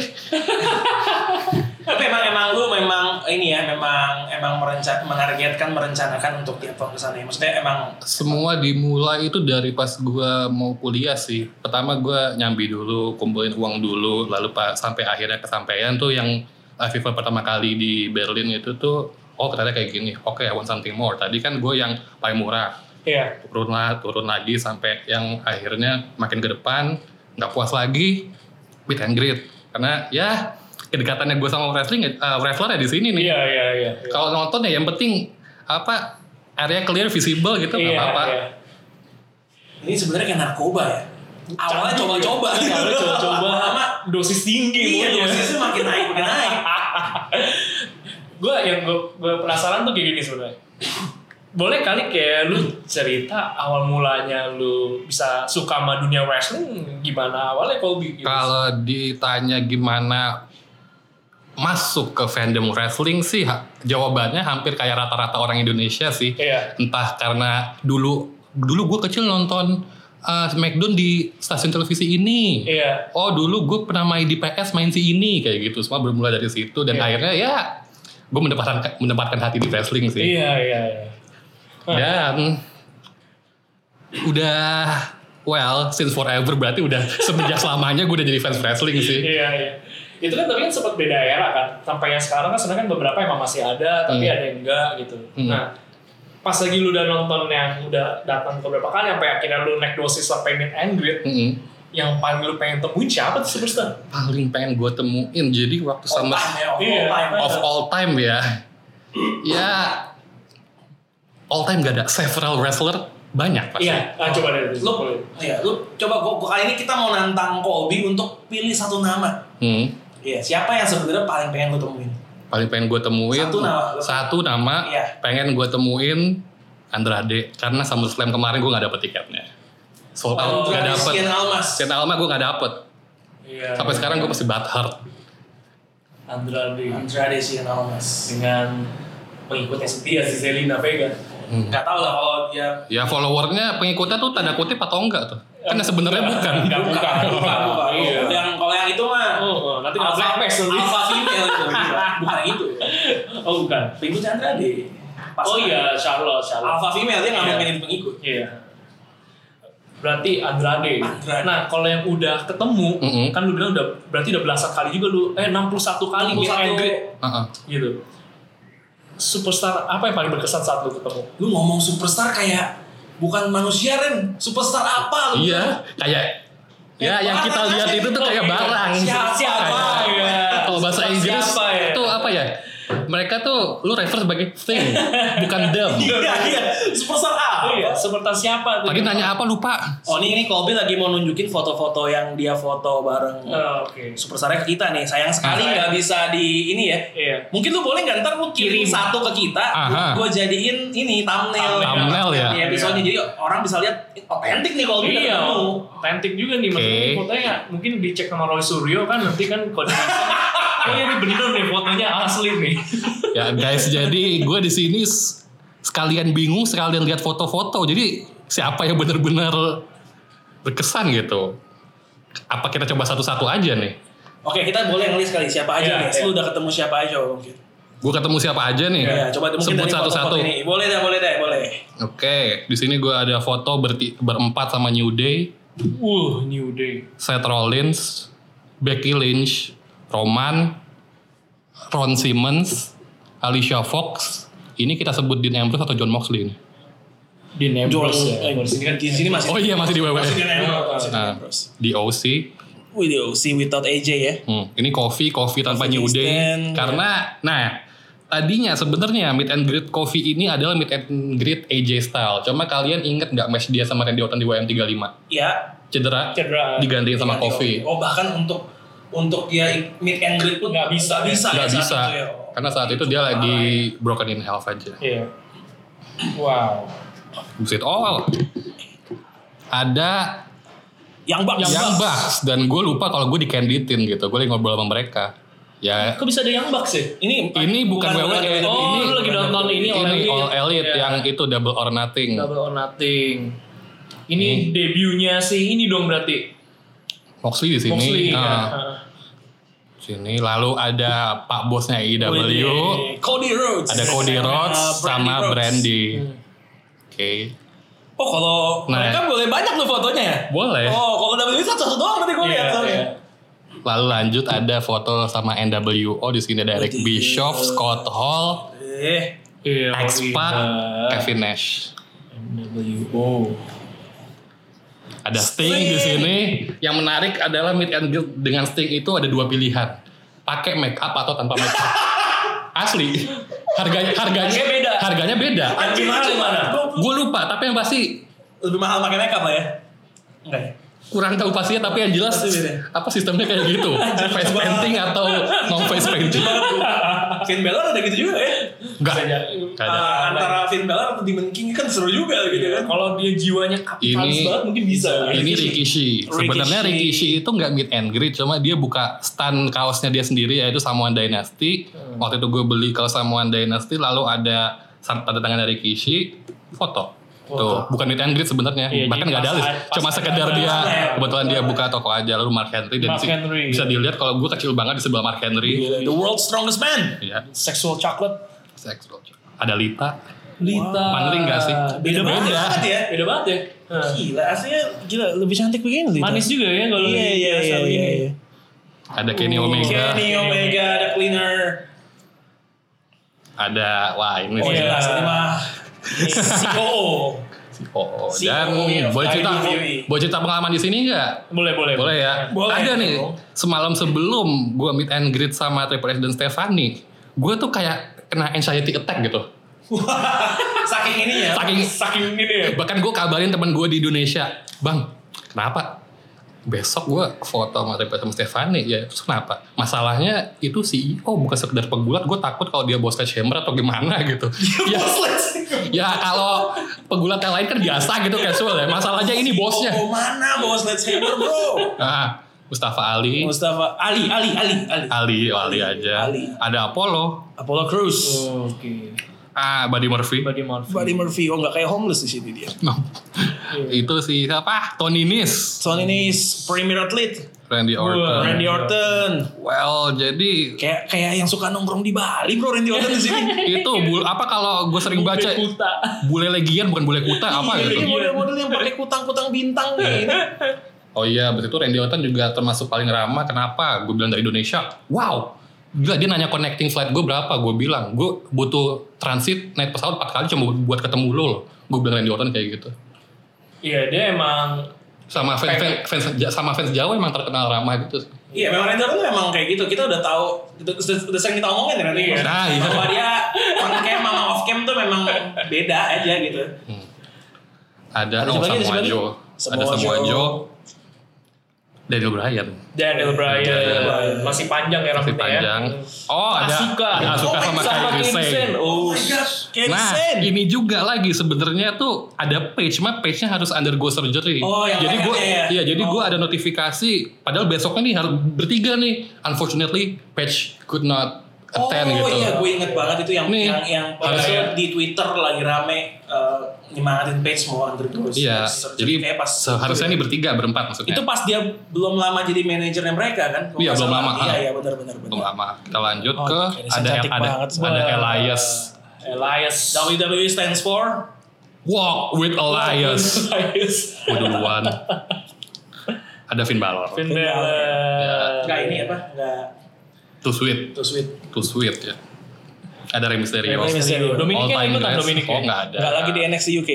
[SPEAKER 1] Tapi emang emang lu memang ini ya, memang emang merencan, menargetkan, merencanakan untuk tiap tahun kesana ya. Maksudnya emang
[SPEAKER 3] Semua dimulai itu dari pas gue mau kuliah sih. Pertama gue nyambi dulu, kumpulin uang dulu, lalu pas sampai akhirnya kesampaian tuh yang live event pertama kali di Berlin itu tuh, oh ternyata kayak gini. Oke, I want something more. Tadi kan gue yang paling murah,
[SPEAKER 2] Iya.
[SPEAKER 3] turun lah, turun lagi sampai yang akhirnya makin ke depan nggak puas lagi, meet and greet. Karena ya kedekatannya gue sama wrestling, eh, wrestler ya di sini nih.
[SPEAKER 2] Iya, iya, iya.
[SPEAKER 3] Kalau nonton ya yang penting apa area clear visible gitu nggak
[SPEAKER 2] Iya,
[SPEAKER 3] apa-apa.
[SPEAKER 2] iya.
[SPEAKER 1] ini sebenarnya kayak narkoba ya. Awalnya
[SPEAKER 2] Canggih,
[SPEAKER 1] coba-coba
[SPEAKER 2] iya.
[SPEAKER 1] gitu.
[SPEAKER 2] Awalnya coba-coba.
[SPEAKER 1] Lama-lama
[SPEAKER 2] Dosis tinggi.
[SPEAKER 1] iya
[SPEAKER 2] maunya.
[SPEAKER 1] dosisnya makin naik, makin naik.
[SPEAKER 2] gue yang gue penasaran tuh kayak gini sebenarnya boleh kali kayak lu cerita awal mulanya lu bisa suka sama dunia wrestling gimana awalnya Colby gitu
[SPEAKER 3] Kalau ditanya gimana masuk ke fandom wrestling sih ha- jawabannya hampir kayak rata-rata orang Indonesia sih.
[SPEAKER 2] iya
[SPEAKER 3] Entah karena dulu dulu gue kecil nonton uh, Smackdown di stasiun televisi ini.
[SPEAKER 2] iya
[SPEAKER 3] Oh dulu gue pernah main di PS main si ini kayak gitu. Semua bermula dari situ dan
[SPEAKER 2] Iya.
[SPEAKER 3] akhirnya ya gue mendapatkan mendapatkan hati di wrestling sih.
[SPEAKER 2] iya iya iya
[SPEAKER 3] Dan udah well since forever berarti udah semenjak selamanya gue udah jadi fans wrestling sih.
[SPEAKER 2] iya iya itu kan tapi kan sempat beda era kan sampai yang sekarang kan sebenarnya kan beberapa emang masih ada tapi
[SPEAKER 3] Hmm.
[SPEAKER 2] ada yang enggak gitu
[SPEAKER 3] Hmm.
[SPEAKER 2] nah pas lagi lu udah nonton yang udah datang ke berapa kali sampai akhirnya lu naik dosis sampai mid and great
[SPEAKER 3] Mm-mm.
[SPEAKER 2] yang paling lu pengen temuin siapa tuh superstar
[SPEAKER 3] Paling pengen gue temuin jadi waktu
[SPEAKER 1] All
[SPEAKER 3] sama
[SPEAKER 1] time ya, all
[SPEAKER 2] Iya.
[SPEAKER 1] time.
[SPEAKER 3] of all time ya. ya all time gak ada several wrestler banyak pasti.
[SPEAKER 2] iya ah, coba deh
[SPEAKER 1] Lu, iya, lu coba gua, gua- kali ini kita mau nantang Kobe untuk pilih satu nama.
[SPEAKER 3] Hmm.
[SPEAKER 1] Iya, siapa yang sebenarnya paling pengen lu temuin?
[SPEAKER 3] Paling pengen gue temuin
[SPEAKER 1] Satu nama.
[SPEAKER 3] satu nama
[SPEAKER 1] Iya.
[SPEAKER 3] pengen gue temuin Andrade karena SummerSlam kemarin gue nggak dapet tiketnya. Sold out
[SPEAKER 1] Andrade
[SPEAKER 3] Oh, nggak dapet.
[SPEAKER 1] Sien Almas.
[SPEAKER 3] Ken Alma gue nggak dapet.
[SPEAKER 2] Iya.
[SPEAKER 3] Sampai sekarang gue masih butthurt.
[SPEAKER 2] Andrade
[SPEAKER 1] Andrade Sien Almas.
[SPEAKER 2] dengan pengikutnya setia ya, si Zelina Vega.
[SPEAKER 1] Gak tau lah kalau dia
[SPEAKER 3] Ya followernya pengikutnya tuh tanda kutip atau enggak tuh? Kan sebenarnya bukan.
[SPEAKER 2] Enggak bukan.
[SPEAKER 1] bukan, bukan, bukan.
[SPEAKER 2] Iya.
[SPEAKER 1] Yang kalau yang itu mah
[SPEAKER 2] Oh, oh, nanti kena
[SPEAKER 1] alpha,
[SPEAKER 2] blackface nanti.
[SPEAKER 1] alpha female itu, iya. bukan yang itu.
[SPEAKER 2] Oh, bukan.
[SPEAKER 1] Pengikut Andrade. Pas
[SPEAKER 2] Oh iya, Charlotte, Charlotte.
[SPEAKER 1] Alpha female dia nggak
[SPEAKER 2] Iya.
[SPEAKER 1] mau jadi pengikut.
[SPEAKER 2] Iya. Berarti Andrade.
[SPEAKER 1] Andrade.
[SPEAKER 2] Nah, kalau yang udah ketemu,
[SPEAKER 3] Mm-mm.
[SPEAKER 2] kan lu bilang udah berarti udah belasan kali juga lu. Eh, 61 kali meet and
[SPEAKER 1] 61.
[SPEAKER 2] greet.
[SPEAKER 3] Heeh.
[SPEAKER 2] gitu. Superstar apa yang paling berkesan saat lu ketemu?
[SPEAKER 1] Lu ngomong superstar kayak bukan manusia Ren, superstar apa lu?
[SPEAKER 3] Iya, kayak ya
[SPEAKER 1] Kayak
[SPEAKER 3] yang kita
[SPEAKER 1] barang
[SPEAKER 3] lihat
[SPEAKER 1] aja.
[SPEAKER 3] itu tuh kayak barang.
[SPEAKER 1] Siapa,
[SPEAKER 3] Kayak-
[SPEAKER 1] ya?
[SPEAKER 3] Kalau bahasa Inggris
[SPEAKER 2] Siapa ya?
[SPEAKER 3] tuh apa ya? Mereka tuh lu refer sebagai thing, bukan
[SPEAKER 1] [LAUGHS]
[SPEAKER 3] them.
[SPEAKER 1] [LAUGHS] Iya, iya, superstar apa?
[SPEAKER 2] Oh iya, seperti siapa tuh?
[SPEAKER 3] Lagi nanya apa lupa.
[SPEAKER 1] Oh ini ini Kobe lagi mau nunjukin foto-foto yang dia foto bareng
[SPEAKER 2] Oh, Oke.
[SPEAKER 1] superstarnya ke kita nih. Sayang sekali
[SPEAKER 2] Nah,
[SPEAKER 1] nggak bisa di ini ya.
[SPEAKER 2] Iya.
[SPEAKER 1] Mungkin lu boleh nggak ntar lu kirim
[SPEAKER 2] Kirim.
[SPEAKER 1] satu ke kita,
[SPEAKER 3] Aha.
[SPEAKER 1] gue jadiin ini thumbnail.
[SPEAKER 3] Thumbnail ya?
[SPEAKER 1] Iya, episode jadi orang bisa lihat "Eh, otentik nih kalau kita
[SPEAKER 2] Iya,
[SPEAKER 1] ketemu.
[SPEAKER 2] otentik juga nih maksudnya
[SPEAKER 3] Oke.
[SPEAKER 2] fotonya mungkin dicek sama Roy Suryo kan nanti kan kalau di- oh iya ini bener nih fotonya asli nih.
[SPEAKER 3] Ya guys, jadi gue di sini s- sekalian bingung, sekalian lihat foto-foto. Jadi siapa yang benar-benar berkesan gitu? Apa kita coba satu-satu aja nih?
[SPEAKER 1] Oke, kita boleh ngelis kali siapa aja
[SPEAKER 2] Iya,
[SPEAKER 1] guys. Lu udah ketemu siapa aja mungkin.
[SPEAKER 3] Gue ketemu siapa aja nih?
[SPEAKER 1] Iya, coba mungkin
[SPEAKER 3] sebut
[SPEAKER 1] dari
[SPEAKER 3] satu-satu.
[SPEAKER 1] foto-foto ini. Boleh deh, boleh deh, boleh.
[SPEAKER 3] Oke, di sini gue ada foto berti- berempat sama New Day,
[SPEAKER 2] Uh, New Day.
[SPEAKER 3] Seth Rollins, Becky Lynch, Roman, Ron Simmons, Alicia Fox. Ini kita sebut Dean Ambrose atau John Moxley? Ini?
[SPEAKER 2] Di
[SPEAKER 1] John,
[SPEAKER 2] Nebros
[SPEAKER 3] ya,
[SPEAKER 1] eh, di sini kan di sini masih.
[SPEAKER 3] Oh iya masih di WWE.
[SPEAKER 1] Masih di Ambrose, masih di
[SPEAKER 3] Nah,
[SPEAKER 1] Ambrose.
[SPEAKER 3] di OC,
[SPEAKER 1] We do see without AJ ya.
[SPEAKER 3] Hmm, ini coffee, coffee tanpa
[SPEAKER 1] Coffee
[SPEAKER 3] New
[SPEAKER 1] instant,
[SPEAKER 3] Day.
[SPEAKER 1] ya.
[SPEAKER 3] Karena, nah, tadinya sebenarnya meet and greet coffee ini adalah meet and greet AJ Style. Cuma kalian inget nggak match dia sama Randy Orton di WM35?
[SPEAKER 1] Ya.
[SPEAKER 3] Cedera,
[SPEAKER 2] Cedera.
[SPEAKER 3] digantiin sama
[SPEAKER 1] Nanti,
[SPEAKER 3] coffee.
[SPEAKER 1] Oh bahkan untuk untuk dia meet and greet pun
[SPEAKER 2] Nggak bisa,
[SPEAKER 1] nggak
[SPEAKER 2] ya.
[SPEAKER 1] bisa.
[SPEAKER 3] Nggak
[SPEAKER 1] ya, saat
[SPEAKER 3] bisa, Kan-
[SPEAKER 1] itu ya. Oh.
[SPEAKER 3] karena saat itu dia lagi broken in health aja.
[SPEAKER 2] Iya. Wow.
[SPEAKER 3] Buset, oh, ada
[SPEAKER 1] Yang bak,
[SPEAKER 3] yang,
[SPEAKER 1] yang bak.
[SPEAKER 3] Bucks. dan gue lupa kalau gue di canditin gitu. Gue lagi ngobrol sama mereka. Ya,
[SPEAKER 2] Kok bisa ada yang bug sih?
[SPEAKER 1] Ini
[SPEAKER 3] ini bukan,
[SPEAKER 1] E.
[SPEAKER 2] WWE.
[SPEAKER 3] WWE.
[SPEAKER 2] Oh,
[SPEAKER 3] ini,
[SPEAKER 2] lu lagi nonton ini All
[SPEAKER 3] ini
[SPEAKER 2] Elite.
[SPEAKER 3] All Elite
[SPEAKER 2] Iya.
[SPEAKER 3] yang itu double or nothing.
[SPEAKER 2] Double or nothing. Ini debutnya sih ini dong berarti.
[SPEAKER 3] Moxley di sini.
[SPEAKER 2] Moxley
[SPEAKER 3] ah,
[SPEAKER 2] kan.
[SPEAKER 3] Sini lalu ada Pak bosnya
[SPEAKER 2] Wih,
[SPEAKER 3] IW,
[SPEAKER 1] Cody Rhodes.
[SPEAKER 3] ada Cody Rhodes
[SPEAKER 1] Uh,
[SPEAKER 3] sama
[SPEAKER 1] iya. Rhodes.
[SPEAKER 3] Brandy. Oke.
[SPEAKER 1] Oh kalau
[SPEAKER 3] Nah.
[SPEAKER 1] mereka boleh banyak tuh fotonya ya.
[SPEAKER 3] Boleh.
[SPEAKER 1] Oh kalau WWE satu satu doang nanti gue
[SPEAKER 2] Iya,
[SPEAKER 1] lihat soalnya.
[SPEAKER 2] iya.
[SPEAKER 3] Lalu lanjut ada foto sama NWO di sini ada Eric
[SPEAKER 1] Wih.
[SPEAKER 3] Bischoff, Scott Hall,
[SPEAKER 1] Eh,
[SPEAKER 2] Iya,
[SPEAKER 3] X-Pac,
[SPEAKER 2] Oliver.
[SPEAKER 3] Kevin Nash. [LAUGHS]
[SPEAKER 2] NWO.
[SPEAKER 3] Ada Sting di sini. Yang menarik adalah meet and greet dengan Sting itu ada dua pilihan. Pakai make up atau tanpa make up. Asli. Harganya harganya
[SPEAKER 2] Harganya beda.
[SPEAKER 3] Harganya beda.
[SPEAKER 1] anjing
[SPEAKER 2] gimana,
[SPEAKER 1] anjing.
[SPEAKER 2] gimana?
[SPEAKER 3] Gue lupa, tapi yang pasti
[SPEAKER 1] Lebih mahal pakai makeup lah ya. Enggak ya.
[SPEAKER 3] kurang tahu pastinya tapi yang jelas
[SPEAKER 1] Pasti beda.
[SPEAKER 3] apa sistemnya kayak
[SPEAKER 2] [LAUGHS]
[SPEAKER 3] gitu face
[SPEAKER 1] coba.
[SPEAKER 3] painting atau non face painting
[SPEAKER 1] Finn Balor ada gitu juga ya.
[SPEAKER 3] enggak
[SPEAKER 2] Bisa jadi.
[SPEAKER 3] enggak ada
[SPEAKER 1] Ah, antara Finn Balor atau Demon King kan seru juga gitu kan.
[SPEAKER 2] Iya, Kalau dia jiwanya kapitalis
[SPEAKER 3] Ini-
[SPEAKER 2] banget mungkin bisa.
[SPEAKER 3] ini Rikishi sebenarnya Rikishi itu nggak meet and greet cuma dia buka stand kaosnya dia sendiri yaitu Samoan Dynasty
[SPEAKER 2] Hmm.
[SPEAKER 3] waktu itu gue beli kaos Samoan Dynasty lalu ada san- tanda tangan dari Rikishi foto Tuh,
[SPEAKER 2] Foto.
[SPEAKER 3] bukan meet and greet sebenarnya.
[SPEAKER 2] Iya,
[SPEAKER 3] Bahkan
[SPEAKER 2] jadi
[SPEAKER 3] nggak ada
[SPEAKER 2] pas-
[SPEAKER 3] list.
[SPEAKER 2] pas-
[SPEAKER 3] Cuma
[SPEAKER 2] pas-
[SPEAKER 3] sekedar dia
[SPEAKER 1] pas-
[SPEAKER 3] kebetulan dia buka toko aja lalu Mark Henry dan
[SPEAKER 2] Mark
[SPEAKER 3] di-
[SPEAKER 2] Henry. Iya.
[SPEAKER 3] bisa dilihat kalau gue kecil banget di sebelah Mark Henry.
[SPEAKER 1] The world's strongest man.
[SPEAKER 3] Iya.
[SPEAKER 2] Sexual chocolate.
[SPEAKER 3] Sex Roger. Ada Lita.
[SPEAKER 2] Lita.
[SPEAKER 3] Mandarin nggak sih?
[SPEAKER 1] Beda banget ya.
[SPEAKER 2] Beda banget ya. Nah,
[SPEAKER 3] Iya.
[SPEAKER 1] Gila, aslinya gila lebih cantik begini Lita.
[SPEAKER 2] Manis juga ya kalau
[SPEAKER 1] Iya iya iya iya. iya.
[SPEAKER 3] Ada Kenny Omega.
[SPEAKER 1] Oh, Kenny Omega ada cleaner.
[SPEAKER 3] Ada wah ini
[SPEAKER 1] Oh
[SPEAKER 3] sih.
[SPEAKER 1] jelas ini mah [LAUGHS] COO.
[SPEAKER 3] Oh,
[SPEAKER 1] Si-
[SPEAKER 3] dan
[SPEAKER 1] oh, iya,
[SPEAKER 3] boleh
[SPEAKER 1] Fly
[SPEAKER 3] cerita
[SPEAKER 1] Dewi.
[SPEAKER 3] boleh cerita pengalaman di sini nggak?
[SPEAKER 2] Boleh boleh.
[SPEAKER 3] Boleh ya.
[SPEAKER 1] Boleh.
[SPEAKER 3] Ada nih. Semalam sebelum gua meet and greet sama Triple H dan Stefani, gua tuh kayak kena anxiety attack gitu.
[SPEAKER 1] Saking ini ya. [LAUGHS]
[SPEAKER 3] Saking
[SPEAKER 2] Saking ini ya.
[SPEAKER 3] bahkan gua kabarin teman gua di Indonesia, "Bang, kenapa?" Besok gua foto sama Triple H sama Stefani ya terus kenapa? Masalahnya itu CEO bukan sekedar penggulat. Gua takut kalau dia bos Hammer atau gimana
[SPEAKER 1] [LAUGHS]
[SPEAKER 3] gitu. ya, ya kalau penggulat yang lain kan biasa gitu casual ya. Masalahnya ini bosnya.
[SPEAKER 1] Oh mana bos lightsaber bro?
[SPEAKER 3] Ah, Mustafa Ali,
[SPEAKER 1] Mustafa Ali Ali Ali Ali.
[SPEAKER 3] Ali, oh, Ali aja.
[SPEAKER 1] Ali.
[SPEAKER 3] Ada Apollo,
[SPEAKER 1] Apollo
[SPEAKER 2] Oh.
[SPEAKER 1] Crews.
[SPEAKER 2] Oke.
[SPEAKER 3] ah Buddy Murphy.
[SPEAKER 2] Buddy Murphy.
[SPEAKER 1] Buddy Murphy, oh nggak kayak homeless di sini dia.
[SPEAKER 3] No. itu si siapa? Tony Nis,
[SPEAKER 1] Soalnya ini premier atlet.
[SPEAKER 3] Randy Orton.
[SPEAKER 1] Randy Orton.
[SPEAKER 3] Well, jadi
[SPEAKER 1] Kayak kayak yang suka nongkrong di Bali bro Randy Orton di sini.
[SPEAKER 3] itu bul- apa kalau gue sering baca
[SPEAKER 2] Kuta.
[SPEAKER 3] bule legian bukan bule kuta [LAUGHS] apa
[SPEAKER 1] Iya,
[SPEAKER 3] gitu.
[SPEAKER 1] Ini model-model yang pakai kutang-kutang
[SPEAKER 3] [LAUGHS]
[SPEAKER 1] bintang gitu. nih. Ini
[SPEAKER 3] Oh iya, abis itu Randy Orton juga termasuk paling ramah. Kenapa? Gue bilang dari Indonesia. Wow. Gila dia nanya connecting flight gue berapa? Gue bilang gue butuh transit naik pesawat 4 kali cuma buat ketemu lo loh. Gue bilang Randy Orton kayak gitu.
[SPEAKER 2] Iya dia emang
[SPEAKER 3] sama fans, fans, fans sama fans Jawa emang terkenal ramah gitu.
[SPEAKER 1] Iya, memang Rendra tuh memang kayak gitu. Kita udah tahu, udah, udah, udah sering kita omongin kan nanti.
[SPEAKER 2] Iya.
[SPEAKER 3] Nah, iya.
[SPEAKER 1] Bahwa dia on cam sama off cam tuh memang beda aja gitu.
[SPEAKER 3] Ada
[SPEAKER 1] Ada
[SPEAKER 3] Nong
[SPEAKER 1] siapa lagi, ada siapa lagi?
[SPEAKER 3] Samuajo, ada
[SPEAKER 1] Samoa
[SPEAKER 3] Samuajo,
[SPEAKER 1] Joe.
[SPEAKER 3] Daniel Bryan
[SPEAKER 2] Daniel
[SPEAKER 3] Iya, Daniel
[SPEAKER 1] Bryan.
[SPEAKER 2] Bryan masih panjang ya
[SPEAKER 3] masih
[SPEAKER 2] rambutnya
[SPEAKER 3] panjang.
[SPEAKER 2] ya.
[SPEAKER 3] Oh ada
[SPEAKER 2] Asuka.
[SPEAKER 3] ada Asuka
[SPEAKER 1] Oh,
[SPEAKER 3] sama
[SPEAKER 1] Iya. Asuka
[SPEAKER 3] Kairi
[SPEAKER 2] Kairi
[SPEAKER 3] Sane.
[SPEAKER 2] Sane.
[SPEAKER 1] Oh, my god, Kairi
[SPEAKER 3] Nah,
[SPEAKER 1] Sane.
[SPEAKER 3] ini juga lagi sebenarnya tuh ada page, mah page-nya harus undergo surgery.
[SPEAKER 1] Oh, yang
[SPEAKER 3] jadi
[SPEAKER 1] layarnya
[SPEAKER 3] gue,
[SPEAKER 1] ya?
[SPEAKER 3] iya, jadi
[SPEAKER 1] Oh.
[SPEAKER 3] gue ada notifikasi. Padahal besoknya nih harus bertiga nih. Unfortunately, page could not
[SPEAKER 1] Oh
[SPEAKER 3] attend gitu.
[SPEAKER 1] iya, gue inget banget itu yang
[SPEAKER 3] Nih,
[SPEAKER 1] yang yang
[SPEAKER 3] harusnya-
[SPEAKER 1] padahal di Twitter lagi rame eh, nyemangatin page mau undergo.
[SPEAKER 3] Iya,
[SPEAKER 1] surgery.
[SPEAKER 3] jadi
[SPEAKER 1] Kayak pas ya.
[SPEAKER 3] seharusnya nih bertiga, berempat maksudnya.
[SPEAKER 1] itu pas dia belum lama jadi manajernya mereka kan? Kalau
[SPEAKER 3] Iya,
[SPEAKER 1] nggak
[SPEAKER 3] belum
[SPEAKER 1] salah.
[SPEAKER 3] lama,
[SPEAKER 1] Iya,
[SPEAKER 3] ah.
[SPEAKER 1] iya benar-benar.
[SPEAKER 3] Belum lama. Kita lanjut
[SPEAKER 1] Oh,
[SPEAKER 3] ke
[SPEAKER 1] Kairi Sane
[SPEAKER 3] ada
[SPEAKER 1] cantik
[SPEAKER 3] ada
[SPEAKER 1] banget,
[SPEAKER 3] ada
[SPEAKER 2] Wah.
[SPEAKER 3] Elias.
[SPEAKER 2] Elias.
[SPEAKER 1] WWE E stands for [LAUGHS]
[SPEAKER 3] Walk with Elias.
[SPEAKER 2] Elias.
[SPEAKER 3] Gue duluan. ada Finn Balor.
[SPEAKER 2] Finn
[SPEAKER 1] Finn Balor.
[SPEAKER 2] Balor.
[SPEAKER 1] Enggak ini apa? Enggak
[SPEAKER 3] Too sweet,
[SPEAKER 1] too sweet.
[SPEAKER 3] too sweet ya. Ada
[SPEAKER 2] Iya,
[SPEAKER 3] Rey Mysterio.
[SPEAKER 1] Rey Mysterio.
[SPEAKER 2] Dominic
[SPEAKER 3] All
[SPEAKER 2] kan
[SPEAKER 3] time
[SPEAKER 2] ikutan
[SPEAKER 3] guys.
[SPEAKER 2] Dominic.
[SPEAKER 3] Oh nggak ada.
[SPEAKER 1] Enggak lagi di NXT UK.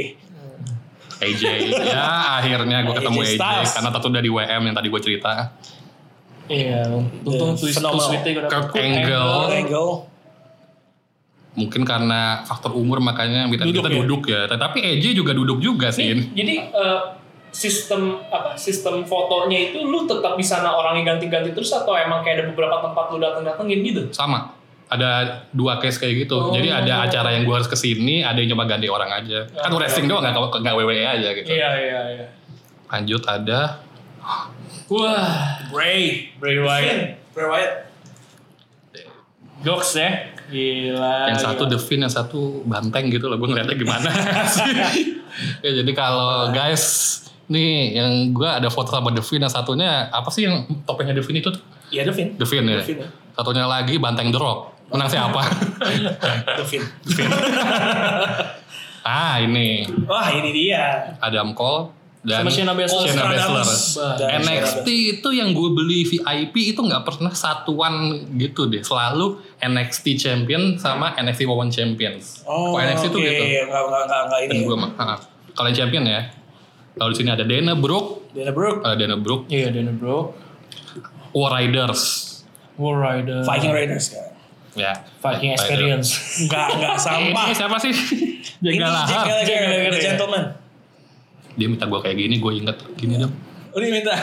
[SPEAKER 3] AJ. ya akhirnya gue
[SPEAKER 1] AJ
[SPEAKER 3] ketemu AJ,
[SPEAKER 1] Styles.
[SPEAKER 3] karena tato udah di WM yang tadi gue cerita.
[SPEAKER 2] Iya. Untung
[SPEAKER 1] The
[SPEAKER 2] twist
[SPEAKER 1] phenomenal.
[SPEAKER 2] twist gue dapet.
[SPEAKER 3] Kurt
[SPEAKER 1] Oh.
[SPEAKER 3] Angle. Oh.
[SPEAKER 1] Angle.
[SPEAKER 3] Mungkin karena faktor umur makanya kita
[SPEAKER 1] Duduk
[SPEAKER 3] kita
[SPEAKER 1] ya?
[SPEAKER 3] duduk ya. Tapi AJ juga duduk juga sih.
[SPEAKER 2] Jadi eh, sistem apa sistem fotonya itu lu tetap di sana orangnya ganti-ganti terus atau emang kayak ada beberapa tempat lu dateng-datengin gitu?
[SPEAKER 3] Sama. Ada dua case kayak gitu.
[SPEAKER 2] Oh.
[SPEAKER 3] Jadi ada acara yang gue harus kesini, ada yang coba ganti orang aja. Kan
[SPEAKER 2] Oh,
[SPEAKER 3] wrestling
[SPEAKER 2] iya.
[SPEAKER 3] doang nggak nggak WWE aja gitu.
[SPEAKER 2] Iya iya iya.
[SPEAKER 3] Lanjut ada
[SPEAKER 2] Wah,
[SPEAKER 1] Bray.
[SPEAKER 2] Bray Wyatt.
[SPEAKER 1] Finn. Bray Wyatt.
[SPEAKER 2] Goks ya. Gila.
[SPEAKER 3] yang satu
[SPEAKER 2] gila.
[SPEAKER 3] The Fin, yang satu banteng gitu loh. Gue ngeliatnya gimana [LAUGHS] sih. ya jadi kalau guys nih yang gue ada foto sama The Fin, yang satunya apa sih yang topengnya The Fin itu tuh?
[SPEAKER 1] Iya, The Finn.
[SPEAKER 3] The Fin
[SPEAKER 1] The
[SPEAKER 3] ya.
[SPEAKER 1] Fin, ya.
[SPEAKER 3] Satunya lagi Banteng Drop. Menang siapa? Nah.
[SPEAKER 1] The Finn.
[SPEAKER 3] ah ini
[SPEAKER 1] Wah, ini dia.
[SPEAKER 3] Adam Cole dan
[SPEAKER 2] Sama Shayna Baszler.
[SPEAKER 3] Shayna
[SPEAKER 1] Stradamus
[SPEAKER 3] Baszler.
[SPEAKER 1] dan
[SPEAKER 3] NXT
[SPEAKER 1] Shayna.
[SPEAKER 3] itu yang gue beli VIP itu nggak pernah satuan gitu deh. Selalu NXT Champion sama NXT Women Champions.
[SPEAKER 1] Oh,
[SPEAKER 3] Kok NXT itu
[SPEAKER 1] oke.
[SPEAKER 3] gitu.
[SPEAKER 1] Enggak enggak enggak enggak ini.
[SPEAKER 3] Dan gue mah ah, kalau yang champion ya. Lalu di sini ada Dana Brooke,
[SPEAKER 1] Dana Brooke.
[SPEAKER 3] eh, Dana Brooke,
[SPEAKER 2] Iya, Dana Bro.
[SPEAKER 3] War Riders.
[SPEAKER 2] War Rider.
[SPEAKER 1] Viking Raiders kan.
[SPEAKER 3] Ya.
[SPEAKER 2] Viking
[SPEAKER 3] Rider.
[SPEAKER 2] [LAUGHS] Experience.
[SPEAKER 1] Enggak enggak
[SPEAKER 3] Eh,
[SPEAKER 1] sampah.
[SPEAKER 3] ini siapa sih? [LAUGHS]
[SPEAKER 1] Ini
[SPEAKER 3] Jaga
[SPEAKER 1] Jack
[SPEAKER 3] lahap.
[SPEAKER 1] Gallagher,
[SPEAKER 2] Jack Gallagher,
[SPEAKER 1] The
[SPEAKER 2] ya.
[SPEAKER 1] Gentleman.
[SPEAKER 3] Dia minta gue kayak gini, gue inget gini dong.
[SPEAKER 1] Oh, dia
[SPEAKER 2] [LAUGHS]
[SPEAKER 1] minta.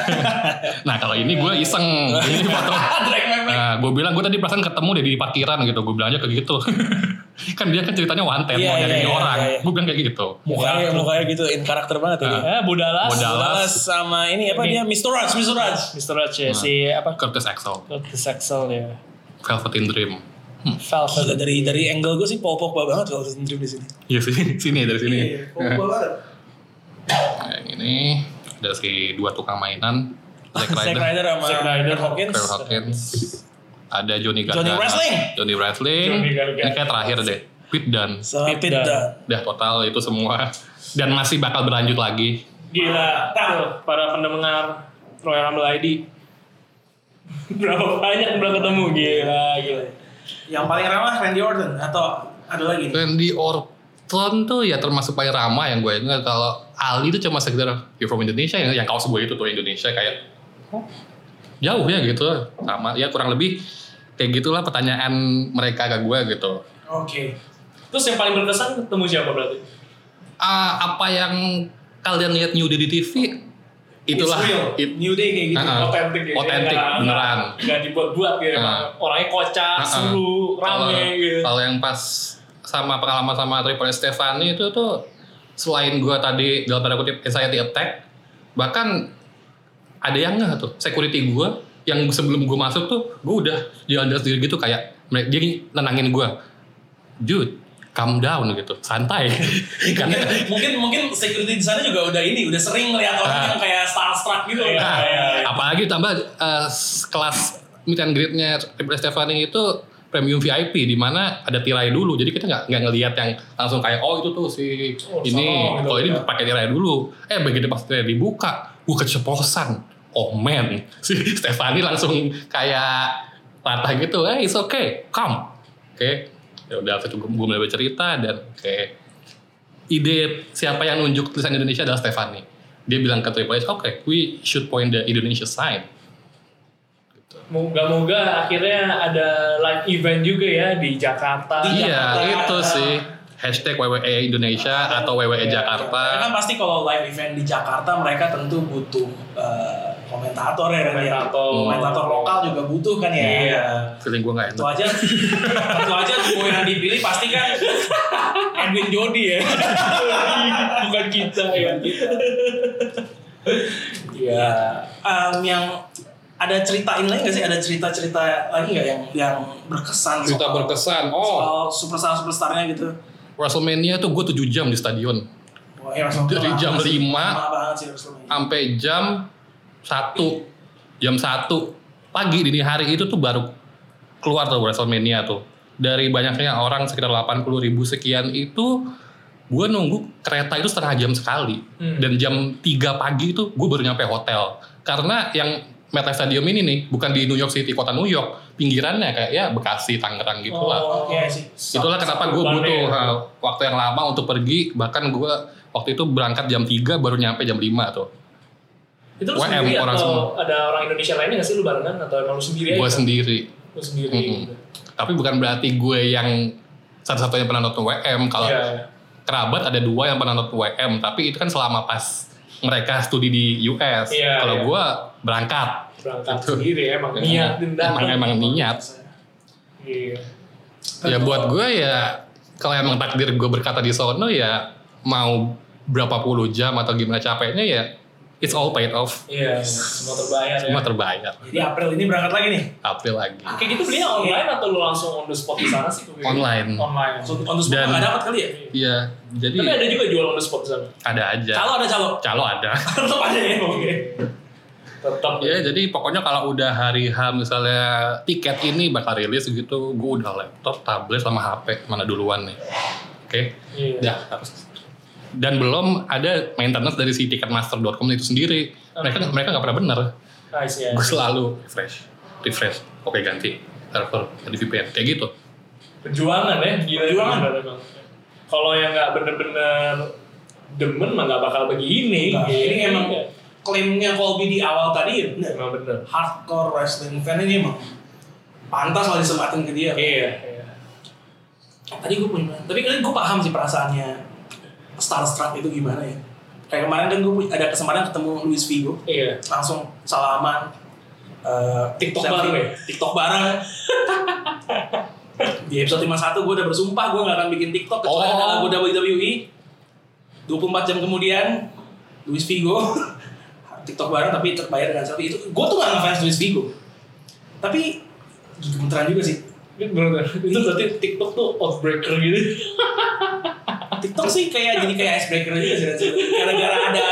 [SPEAKER 3] Nah kalau ini gue iseng,
[SPEAKER 1] [LAUGHS]
[SPEAKER 3] ini foto.
[SPEAKER 1] Drag memang.
[SPEAKER 3] Nah, gue bilang gue tadi perasaan ketemu deh di parkiran gitu, gue bilang aja kayak gitu. [LAUGHS] kan dia kan ceritanya wanted
[SPEAKER 1] Iya,
[SPEAKER 3] mau
[SPEAKER 1] iya,
[SPEAKER 3] nyari
[SPEAKER 1] iya,
[SPEAKER 3] orang,
[SPEAKER 1] iya, iya.
[SPEAKER 3] gue bilang kayak gitu.
[SPEAKER 1] Mukanya, mukanya gitu in karakter banget ya. dia.
[SPEAKER 2] Eh, Budalas.
[SPEAKER 3] Budalas.
[SPEAKER 1] Dallas sama ini apa
[SPEAKER 2] Ini.
[SPEAKER 1] dia Mr. Raj, Mr. Raj.
[SPEAKER 2] Mr. Raj ya, si apa?
[SPEAKER 3] Curtis Axel,
[SPEAKER 2] Curtis Axel ya.
[SPEAKER 3] Velveteen Dream.
[SPEAKER 1] Kalau
[SPEAKER 3] Hmm.
[SPEAKER 2] Velvet.
[SPEAKER 1] dari dari angle gue sih Paul Pogba banget kalau Dream di sini.
[SPEAKER 3] Iya [LAUGHS] sini, sini dari sini.
[SPEAKER 1] Pogba Iya, banget.
[SPEAKER 3] Nah, yang ini ada si dua tukang mainan, Zack
[SPEAKER 1] [LAUGHS] Zack
[SPEAKER 3] Ryder,
[SPEAKER 1] Ryder sama
[SPEAKER 2] Zack Ryder,
[SPEAKER 1] Kurt Hawkins.
[SPEAKER 3] Kyle Hawkins, ada Johnny Gargano,
[SPEAKER 1] Johnny Wrestling.
[SPEAKER 3] Johnny Wrestling.
[SPEAKER 2] Johnny Gargano.
[SPEAKER 3] Ini kayak terakhir deh, Pit dan
[SPEAKER 1] Sama
[SPEAKER 2] Pete
[SPEAKER 1] Pete
[SPEAKER 2] Dunne.
[SPEAKER 1] Dunne.
[SPEAKER 3] udah total itu semua dan masih bakal berlanjut lagi.
[SPEAKER 2] Gila, tuh, para pendengar Royal Rumble ID. [LAUGHS] Berapa banyak udah ketemu, gila, gila.
[SPEAKER 1] Yang paling ramah Randy Orton atau ada lagi?
[SPEAKER 3] Randy Orton tuh ya termasuk paling ramah yang gue ingat kalau Ali tuh cuma sekedar you from Indonesia yang, yang kaos gue itu tuh Indonesia kayak "Oh, jauh ya gitu sama ya kurang lebih kayak gitulah pertanyaan mereka ke gue gitu
[SPEAKER 1] Oke.
[SPEAKER 2] Terus yang paling berkesan ketemu siapa berarti?
[SPEAKER 3] Ah, apa yang kalian lihat New Day di TV itulah
[SPEAKER 1] It's real.
[SPEAKER 3] it-
[SPEAKER 1] New Day kayak gitu.
[SPEAKER 3] Ah,
[SPEAKER 2] Otentik ya.
[SPEAKER 3] Otentik, beneran.
[SPEAKER 2] Gak dibuat-buat gitu.
[SPEAKER 3] Ah.
[SPEAKER 2] emang Orangnya kocak,
[SPEAKER 3] Ah, ah.
[SPEAKER 2] seru,
[SPEAKER 3] kalau
[SPEAKER 2] rame gitu.
[SPEAKER 3] kalau yang pas sama pengalaman sama Triple S Stefani itu tuh selain gue tadi dalam tanda kutip anxiety attack bahkan ada yang nggak tuh security gue yang sebelum gue masuk tuh gue udah jalan sendiri gitu kayak mereka- dia nenangin gue Jude calm down gitu santai [LAUGHS]
[SPEAKER 1] Mungkin,
[SPEAKER 3] karena
[SPEAKER 1] mungkin mungkin security di sana juga udah ini, udah sering ngeliat orang
[SPEAKER 3] Ah.
[SPEAKER 1] yang kayak starstruck gitu.
[SPEAKER 2] Iya,
[SPEAKER 1] Kayak-
[SPEAKER 2] iya, iya.
[SPEAKER 3] Nah, apalagi tambah eh, s- kelas meet and greet-nya Triple S Stefani itu premium VIP di mana ada tirai dulu jadi kita nggak nggak ngelihat yang langsung kayak oh itu tuh si
[SPEAKER 2] Oh,
[SPEAKER 3] ini
[SPEAKER 2] sama, gitu,
[SPEAKER 3] kalau ini
[SPEAKER 2] ya.
[SPEAKER 3] pakai tirai dulu eh begitu pas tirai dibuka gue keceplosan oh man [LAUGHS] si Stefani langsung kayak patah gitu eh it's okay come oke ya udah aku cukup gue mulai bercerita dan kayak ide siapa yang nunjuk tulisan Indonesia adalah Stefani dia bilang ke Triple H, oke, we should point the Indonesia side.
[SPEAKER 2] Moga-moga akhirnya ada live event juga ya di Jakarta.
[SPEAKER 1] Di
[SPEAKER 3] Iya,
[SPEAKER 1] Jakarta.
[SPEAKER 3] itu sih. Hashtag WWE Indonesia atau WWE
[SPEAKER 1] Karena
[SPEAKER 2] Iya,
[SPEAKER 3] Jakarta.
[SPEAKER 1] kan pasti kalau live event di Jakarta mereka tentu butuh eh, komentator ya Ren, ya.
[SPEAKER 2] Komentator.
[SPEAKER 1] komentator lokal juga butuh kan ya.
[SPEAKER 2] Iya.
[SPEAKER 3] Feeling gue gak
[SPEAKER 1] Itu
[SPEAKER 3] enak.
[SPEAKER 1] aja, itu aja duo yang dipilih pasti kan Edwin Jody ya.
[SPEAKER 2] [LAUGHS] Bukan kita ya.
[SPEAKER 3] [LAUGHS]
[SPEAKER 1] Iya. Em, yang ada ceritain lain nggak sih? Ada cerita-cerita lagi nggak yang yang berkesan?
[SPEAKER 3] Cerita
[SPEAKER 1] soal-
[SPEAKER 3] berkesan. Oh,
[SPEAKER 1] Soal superstar superstarnya gitu.
[SPEAKER 3] WrestleMania tuh gue 7 jam di stadion.
[SPEAKER 1] Wah, ya, langsung
[SPEAKER 3] Dari
[SPEAKER 1] kelar.
[SPEAKER 3] jam lima.
[SPEAKER 1] Lama banget sih Rasulullah.
[SPEAKER 3] Sampai jam 1. Jam 1 pagi dini hari itu tuh baru keluar tuh WrestleMania tuh. Dari banyaknya orang sekitar 80 ribu sekian itu gue nunggu kereta itu setengah jam sekali.
[SPEAKER 2] Hmm.
[SPEAKER 3] Dan jam 3 pagi itu gue baru nyampe hotel. Karena yang MetLife Stadium ini nih bukan di New York City, kota New York. Pinggirannya kayak ya Bekasi, Tangerang gitu lah.
[SPEAKER 1] Oh, Oke sih.
[SPEAKER 3] Itulah kenapa gue
[SPEAKER 2] Bulan
[SPEAKER 3] butuh
[SPEAKER 2] ya.
[SPEAKER 3] uh, waktu yang lama untuk pergi. Bahkan gue waktu itu berangkat jam 3 baru nyampe jam 5 tuh.
[SPEAKER 2] Itu lu
[SPEAKER 3] WM
[SPEAKER 2] sendiri
[SPEAKER 3] orang
[SPEAKER 2] atau
[SPEAKER 3] semua.
[SPEAKER 2] ada orang Indonesia lainnya nggak sih lu barengan atau emang lu sendiri
[SPEAKER 3] Gue
[SPEAKER 2] aja?
[SPEAKER 3] sendiri.
[SPEAKER 2] Lu sendiri.
[SPEAKER 3] Mm-mm.
[SPEAKER 2] gitu.
[SPEAKER 3] Tapi bukan berarti gue yang satu-satunya pernah nonton WM. Kalau
[SPEAKER 2] Iya.
[SPEAKER 3] kerabat ada dua yang pernah nonton WM. Tapi itu kan selama pas mereka studi di US.
[SPEAKER 2] Iya,
[SPEAKER 3] Kalau
[SPEAKER 2] iya.
[SPEAKER 3] gue berangkat.
[SPEAKER 2] Berangkat
[SPEAKER 3] Gitu.
[SPEAKER 2] sendiri emang niat dendam.
[SPEAKER 3] Emang, emang niat.
[SPEAKER 2] Iya.
[SPEAKER 3] Ya buat gue ya kalau emang takdir gue berkata di sono ya mau berapa puluh jam atau gimana capeknya ya it's all paid off.
[SPEAKER 2] Iya, semua terbayar ya.
[SPEAKER 3] Semua terbayar.
[SPEAKER 1] Jadi April ini berangkat lagi nih.
[SPEAKER 3] April lagi.
[SPEAKER 2] Kayak gitu belinya online atau lu langsung on the spot di sana sih? Kok kayak gitu?
[SPEAKER 3] Online.
[SPEAKER 2] Online.
[SPEAKER 1] So, on the spot
[SPEAKER 3] Dan-
[SPEAKER 1] nggak dapat kali ya.
[SPEAKER 3] Iya, jadi
[SPEAKER 2] Tapi ada juga jual on the spot di sana. [LAUGHS]
[SPEAKER 3] ada aja.
[SPEAKER 1] Calo ada calo.
[SPEAKER 3] Calo ada.
[SPEAKER 1] Tetap aja ya. Oke.
[SPEAKER 2] Tetap
[SPEAKER 3] ya, jadi pokoknya kalau udah hari H misalnya tiket ini bakal rilis gitu, gue udah laptop, tablet sama HP mana duluan nih. Oke.
[SPEAKER 2] Iya.
[SPEAKER 3] Dah, harus. Dan belum ada maintenance dari si ticketmaster.com itu sendiri. Mereka mereka nggak pernah bener.
[SPEAKER 2] Ah, isi ya.
[SPEAKER 3] Gue selalu refresh, refresh. Oke ganti server ganti VPN kayak gitu.
[SPEAKER 2] Perjuangan ya, gila
[SPEAKER 1] Perjuangan.
[SPEAKER 2] bener emang. Kalau yang nggak bener-bener demen mah nggak bakal begini.
[SPEAKER 1] Nah,
[SPEAKER 2] Iya.
[SPEAKER 1] ini emang klaimnya Colby di awal tadi ya. bener.
[SPEAKER 2] emang bener.
[SPEAKER 1] Hardcore wrestling fan ini emang pantas lah disempatin ke dia.
[SPEAKER 2] Iya. iya.
[SPEAKER 1] Tadi gue punya, tapi kan gue paham sih perasaannya starstruck itu gimana ya. Kayak kemarin kan gue ada kesempatan ketemu Luis Figo,
[SPEAKER 2] Iya.
[SPEAKER 1] langsung salaman eh,
[SPEAKER 2] TikTok
[SPEAKER 1] selfie,
[SPEAKER 2] bareng ya?
[SPEAKER 1] TikTok bareng [LAUGHS] di episode 51 gue udah bersumpah gue gak akan bikin TikTok kecuali
[SPEAKER 3] Oh.
[SPEAKER 1] ada lagu WWE 24 jam kemudian Luis Figo [LAUGHS] TikTok bareng tapi terbayar dengan selfie itu gue tuh gak ngefans Luis Figo tapi gemeteran juga sih
[SPEAKER 2] Ini bener-bener. Itu berarti TikTok tuh outbreaker gitu.
[SPEAKER 1] TikTok sih kayak jadi kayak icebreaker juga sih Ren. gara-gara ada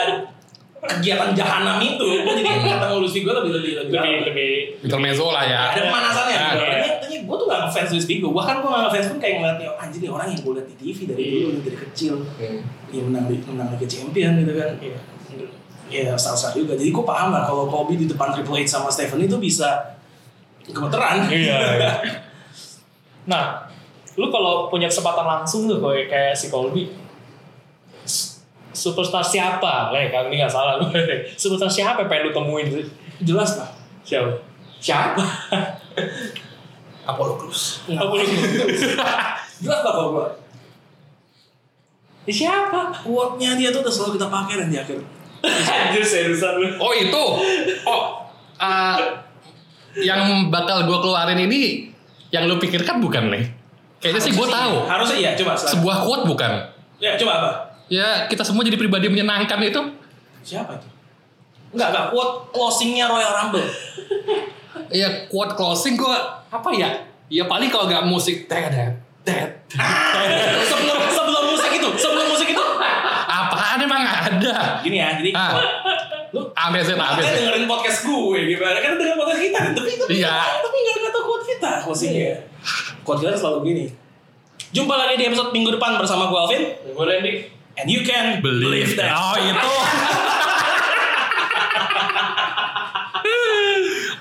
[SPEAKER 1] kegiatan jahanam itu gue jadi ketemu Luis Figo lebih lebih lebih,
[SPEAKER 2] Lebih
[SPEAKER 1] lama.
[SPEAKER 2] lebih
[SPEAKER 3] Intermezzo lah ya.
[SPEAKER 1] ada pemanasannya
[SPEAKER 3] Nah,
[SPEAKER 1] gitu.
[SPEAKER 2] iya.
[SPEAKER 1] Tanya, tanya gue tuh gak ngefans Luis Figo bahkan gue gak ngefans pun kayak ngeliatnya "Oh, anjir nih orang yang gue liat di TV dari
[SPEAKER 2] Iya.
[SPEAKER 1] dulu dari kecil dia menang di menang Liga Champion gitu kan
[SPEAKER 2] Iya.
[SPEAKER 1] ya star juga jadi gue paham lah kalau Kobe di depan Triple H sama Stephen itu bisa gemeteran
[SPEAKER 2] Iya. iya. nah, lu kalau punya kesempatan langsung tuh kayak kayak si Colby, s- superstar siapa? Leh, kalau ini nggak salah. [LAUGHS] superstar siapa yang pengen lu temuin sih?
[SPEAKER 1] [LAUGHS] jelas lah
[SPEAKER 2] Siapa? Siapa?
[SPEAKER 1] [LAUGHS] Apollo Crews
[SPEAKER 2] Aku
[SPEAKER 1] Apollo
[SPEAKER 2] lupa. [LAUGHS]
[SPEAKER 1] jelas lah kalau gue
[SPEAKER 2] Ya, siapa?
[SPEAKER 1] quote-nya dia tuh udah selalu kita pakai dan di akhir
[SPEAKER 2] Anjir seriusan lu.
[SPEAKER 3] Oh itu. Oh ah, yang bakal gue keluarin ini yang lu pikirkan bukan nih? Kayaknya sih gue tahu.
[SPEAKER 1] harusnya iya coba selalu
[SPEAKER 3] Sebuah quote bukan?
[SPEAKER 1] ya coba apa
[SPEAKER 3] Ya kita semua jadi pribadi menyenangkan itu.
[SPEAKER 1] siapa itu Enggak, enggak, quote closingnya Royal Rumble
[SPEAKER 3] Ya quote closing gue apa ya? Ya paling kalau nggak musik dead dead.
[SPEAKER 1] sebelum sebelum musik itu sebelum musik itu
[SPEAKER 3] Apaan emang ada?
[SPEAKER 1] gini ya jadi
[SPEAKER 3] Ah.
[SPEAKER 1] lu
[SPEAKER 3] Amazing
[SPEAKER 1] makanya
[SPEAKER 3] amazing.
[SPEAKER 1] dengerin podcast gue gimana kan dengerin podcast kita tapi tapi
[SPEAKER 3] ya. Iya.
[SPEAKER 1] tapi nggak nggak tahu quote kita closingnya quote kita selalu gini jumpa lagi di episode minggu depan bersama gue Alvin
[SPEAKER 2] Gue landing.
[SPEAKER 1] and you can believe, that
[SPEAKER 3] Oh itu.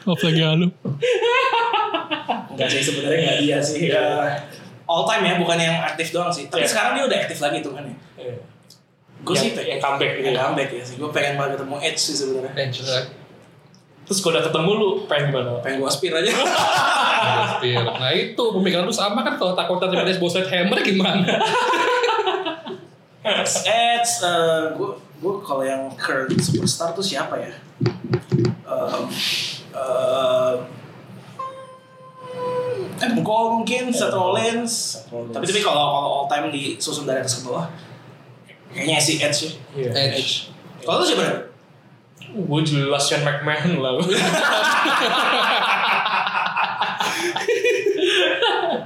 [SPEAKER 3] Off lagi ah, halu.
[SPEAKER 1] Enggak sih sebenarnya nggak dia sih
[SPEAKER 2] Iya.
[SPEAKER 1] Eh, all time ya bukan yang aktif doang sih tapi
[SPEAKER 2] Iya.
[SPEAKER 1] sekarang dia udah aktif lagi tuh kan ya Gue
[SPEAKER 2] Yang-
[SPEAKER 1] sih pengen
[SPEAKER 2] yang comeback gitu
[SPEAKER 1] Yang
[SPEAKER 2] ya.
[SPEAKER 1] comeback ya sih. Gue pengen banget ketemu Edge sih sebenarnya.
[SPEAKER 2] Dan juga. Terus kalau udah ketemu lu pengen gimana?
[SPEAKER 1] Pengen gue aspir aja.
[SPEAKER 3] Spear. Nah itu pemikiran lu sama kan kalau takutnya daripada Boslet Hammer gimana?
[SPEAKER 1] Edge, [LAUGHS] Edge. eh, Gue gue kalau yang current superstar tuh siapa ya? Em, eh, kan Cole mungkin, Seth Rollins.
[SPEAKER 2] Iya. Rollins.
[SPEAKER 1] Tapi tapi kalau kalau all time di susun dari atas ke bawah, kayaknya si Edge ya.
[SPEAKER 2] Iya.
[SPEAKER 3] Edge.
[SPEAKER 1] Kalau lu siapa?
[SPEAKER 2] Gue jelas Sean McMahon lah.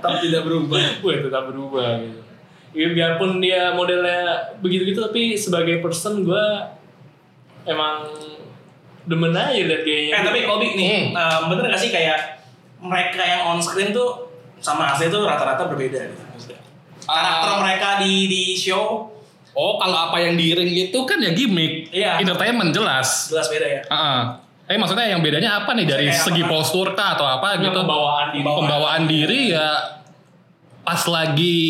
[SPEAKER 1] Tetap tidak berubah.
[SPEAKER 2] [LAUGHS] Gue tetap berubah gitu. Ya, biarpun dia modelnya begitu-gitu tapi sebagai person gue emang demen aja liat
[SPEAKER 1] Eh
[SPEAKER 2] gayanya.
[SPEAKER 1] tapi Kobi nih,
[SPEAKER 3] Hmm.
[SPEAKER 1] eh, bener gak sih kayak mereka yang on screen tuh sama asli tuh rata-rata berbeda gitu. Maksudnya, Karakter
[SPEAKER 3] Ah.
[SPEAKER 1] mereka di di show
[SPEAKER 3] Oh kalau apa yang di ring itu kan ya gimmick,
[SPEAKER 1] Iya.
[SPEAKER 3] entertainment jelas.
[SPEAKER 1] jelas beda ya.
[SPEAKER 3] Heeh. Eh maksudnya yang bedanya apa nih dari
[SPEAKER 1] Kayak
[SPEAKER 3] segi
[SPEAKER 1] apa?
[SPEAKER 3] postur kah atau apa
[SPEAKER 2] Punya
[SPEAKER 3] gitu?
[SPEAKER 2] pembawaan di
[SPEAKER 1] Pembawaan.
[SPEAKER 3] Pembawaan diri ya pas lagi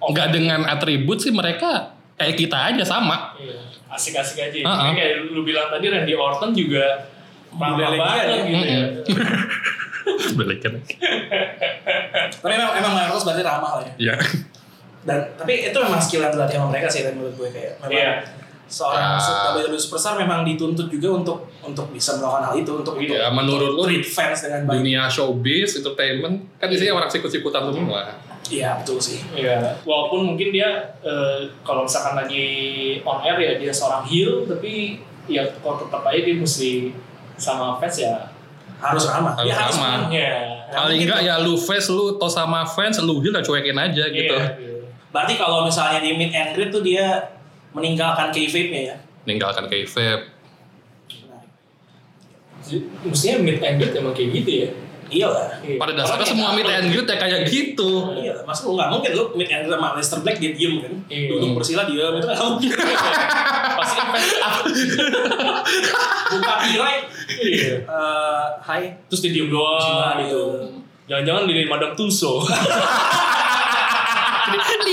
[SPEAKER 3] nggak dengan atribut sih mereka kayak kita aja sama. [LAUGHS]
[SPEAKER 2] Iya, asik-asik aja.
[SPEAKER 3] Uh-uh.
[SPEAKER 2] Jadi Kayak lu bilang tadi Randy Orton juga ramah
[SPEAKER 1] Boleh
[SPEAKER 2] banget
[SPEAKER 1] lagi ya.
[SPEAKER 2] gitu ya.
[SPEAKER 3] Balikin.
[SPEAKER 1] Tapi emang emang Marcos berarti ramah lah ya.
[SPEAKER 3] Ya.
[SPEAKER 1] Dan tapi itu memang skill yang dilatih sama mereka sih dan menurut gue kayak memang
[SPEAKER 2] Iya.
[SPEAKER 1] seorang
[SPEAKER 3] Ah.
[SPEAKER 1] WWE E superstar memang dituntut juga untuk untuk bisa melakukan hal itu untuk
[SPEAKER 2] Iya,
[SPEAKER 1] untuk
[SPEAKER 3] Ya, menurut lu
[SPEAKER 1] treat fans dengan baik.
[SPEAKER 3] dunia showbiz entertainment kan isinya orang sikut-sikutan semua.
[SPEAKER 1] Iya betul sih.
[SPEAKER 2] Iya, walaupun mungkin dia eh, kalau misalkan lagi on air ya dia seorang heel tapi ya kalau tetap aja dia mesti sama fans ya.
[SPEAKER 1] Harus ramah.
[SPEAKER 3] Harus
[SPEAKER 1] Ya,
[SPEAKER 3] ramah.
[SPEAKER 1] ramah.
[SPEAKER 2] Iya.
[SPEAKER 3] Paling enggak ya lu face lu tos sama fans lu heal ya cuekin aja
[SPEAKER 2] Iya,
[SPEAKER 3] gitu.
[SPEAKER 2] iya.
[SPEAKER 1] Berarti kalau misalnya di mid and greet tuh dia meninggalkan kayfabe-nya ya.
[SPEAKER 3] Ninggalkan kayfabe.
[SPEAKER 1] Menarik.
[SPEAKER 2] Jadi, gitu. Mestinya mid and greet emang kayak gitu ya.
[SPEAKER 1] Iya lah.
[SPEAKER 2] Iya.
[SPEAKER 3] Pada dasarnya
[SPEAKER 1] Orang
[SPEAKER 3] semua
[SPEAKER 1] yang
[SPEAKER 3] meet and greet ya kayak gitu.
[SPEAKER 1] Iya, lah, mas lu nggak mungkin lu meet and greet sama Leicester Black dia diem kan?
[SPEAKER 2] Iya.
[SPEAKER 1] Duduk bersila dia itu nggak mungkin.
[SPEAKER 2] pasti kan fans
[SPEAKER 1] Buka tirai,
[SPEAKER 2] iya.
[SPEAKER 1] eh, hai.
[SPEAKER 2] Terus dia diem doang
[SPEAKER 1] Cuma
[SPEAKER 2] gitu.
[SPEAKER 1] gitu.
[SPEAKER 2] Jangan-jangan dilihat Madame Tussauds.
[SPEAKER 3] Jadi,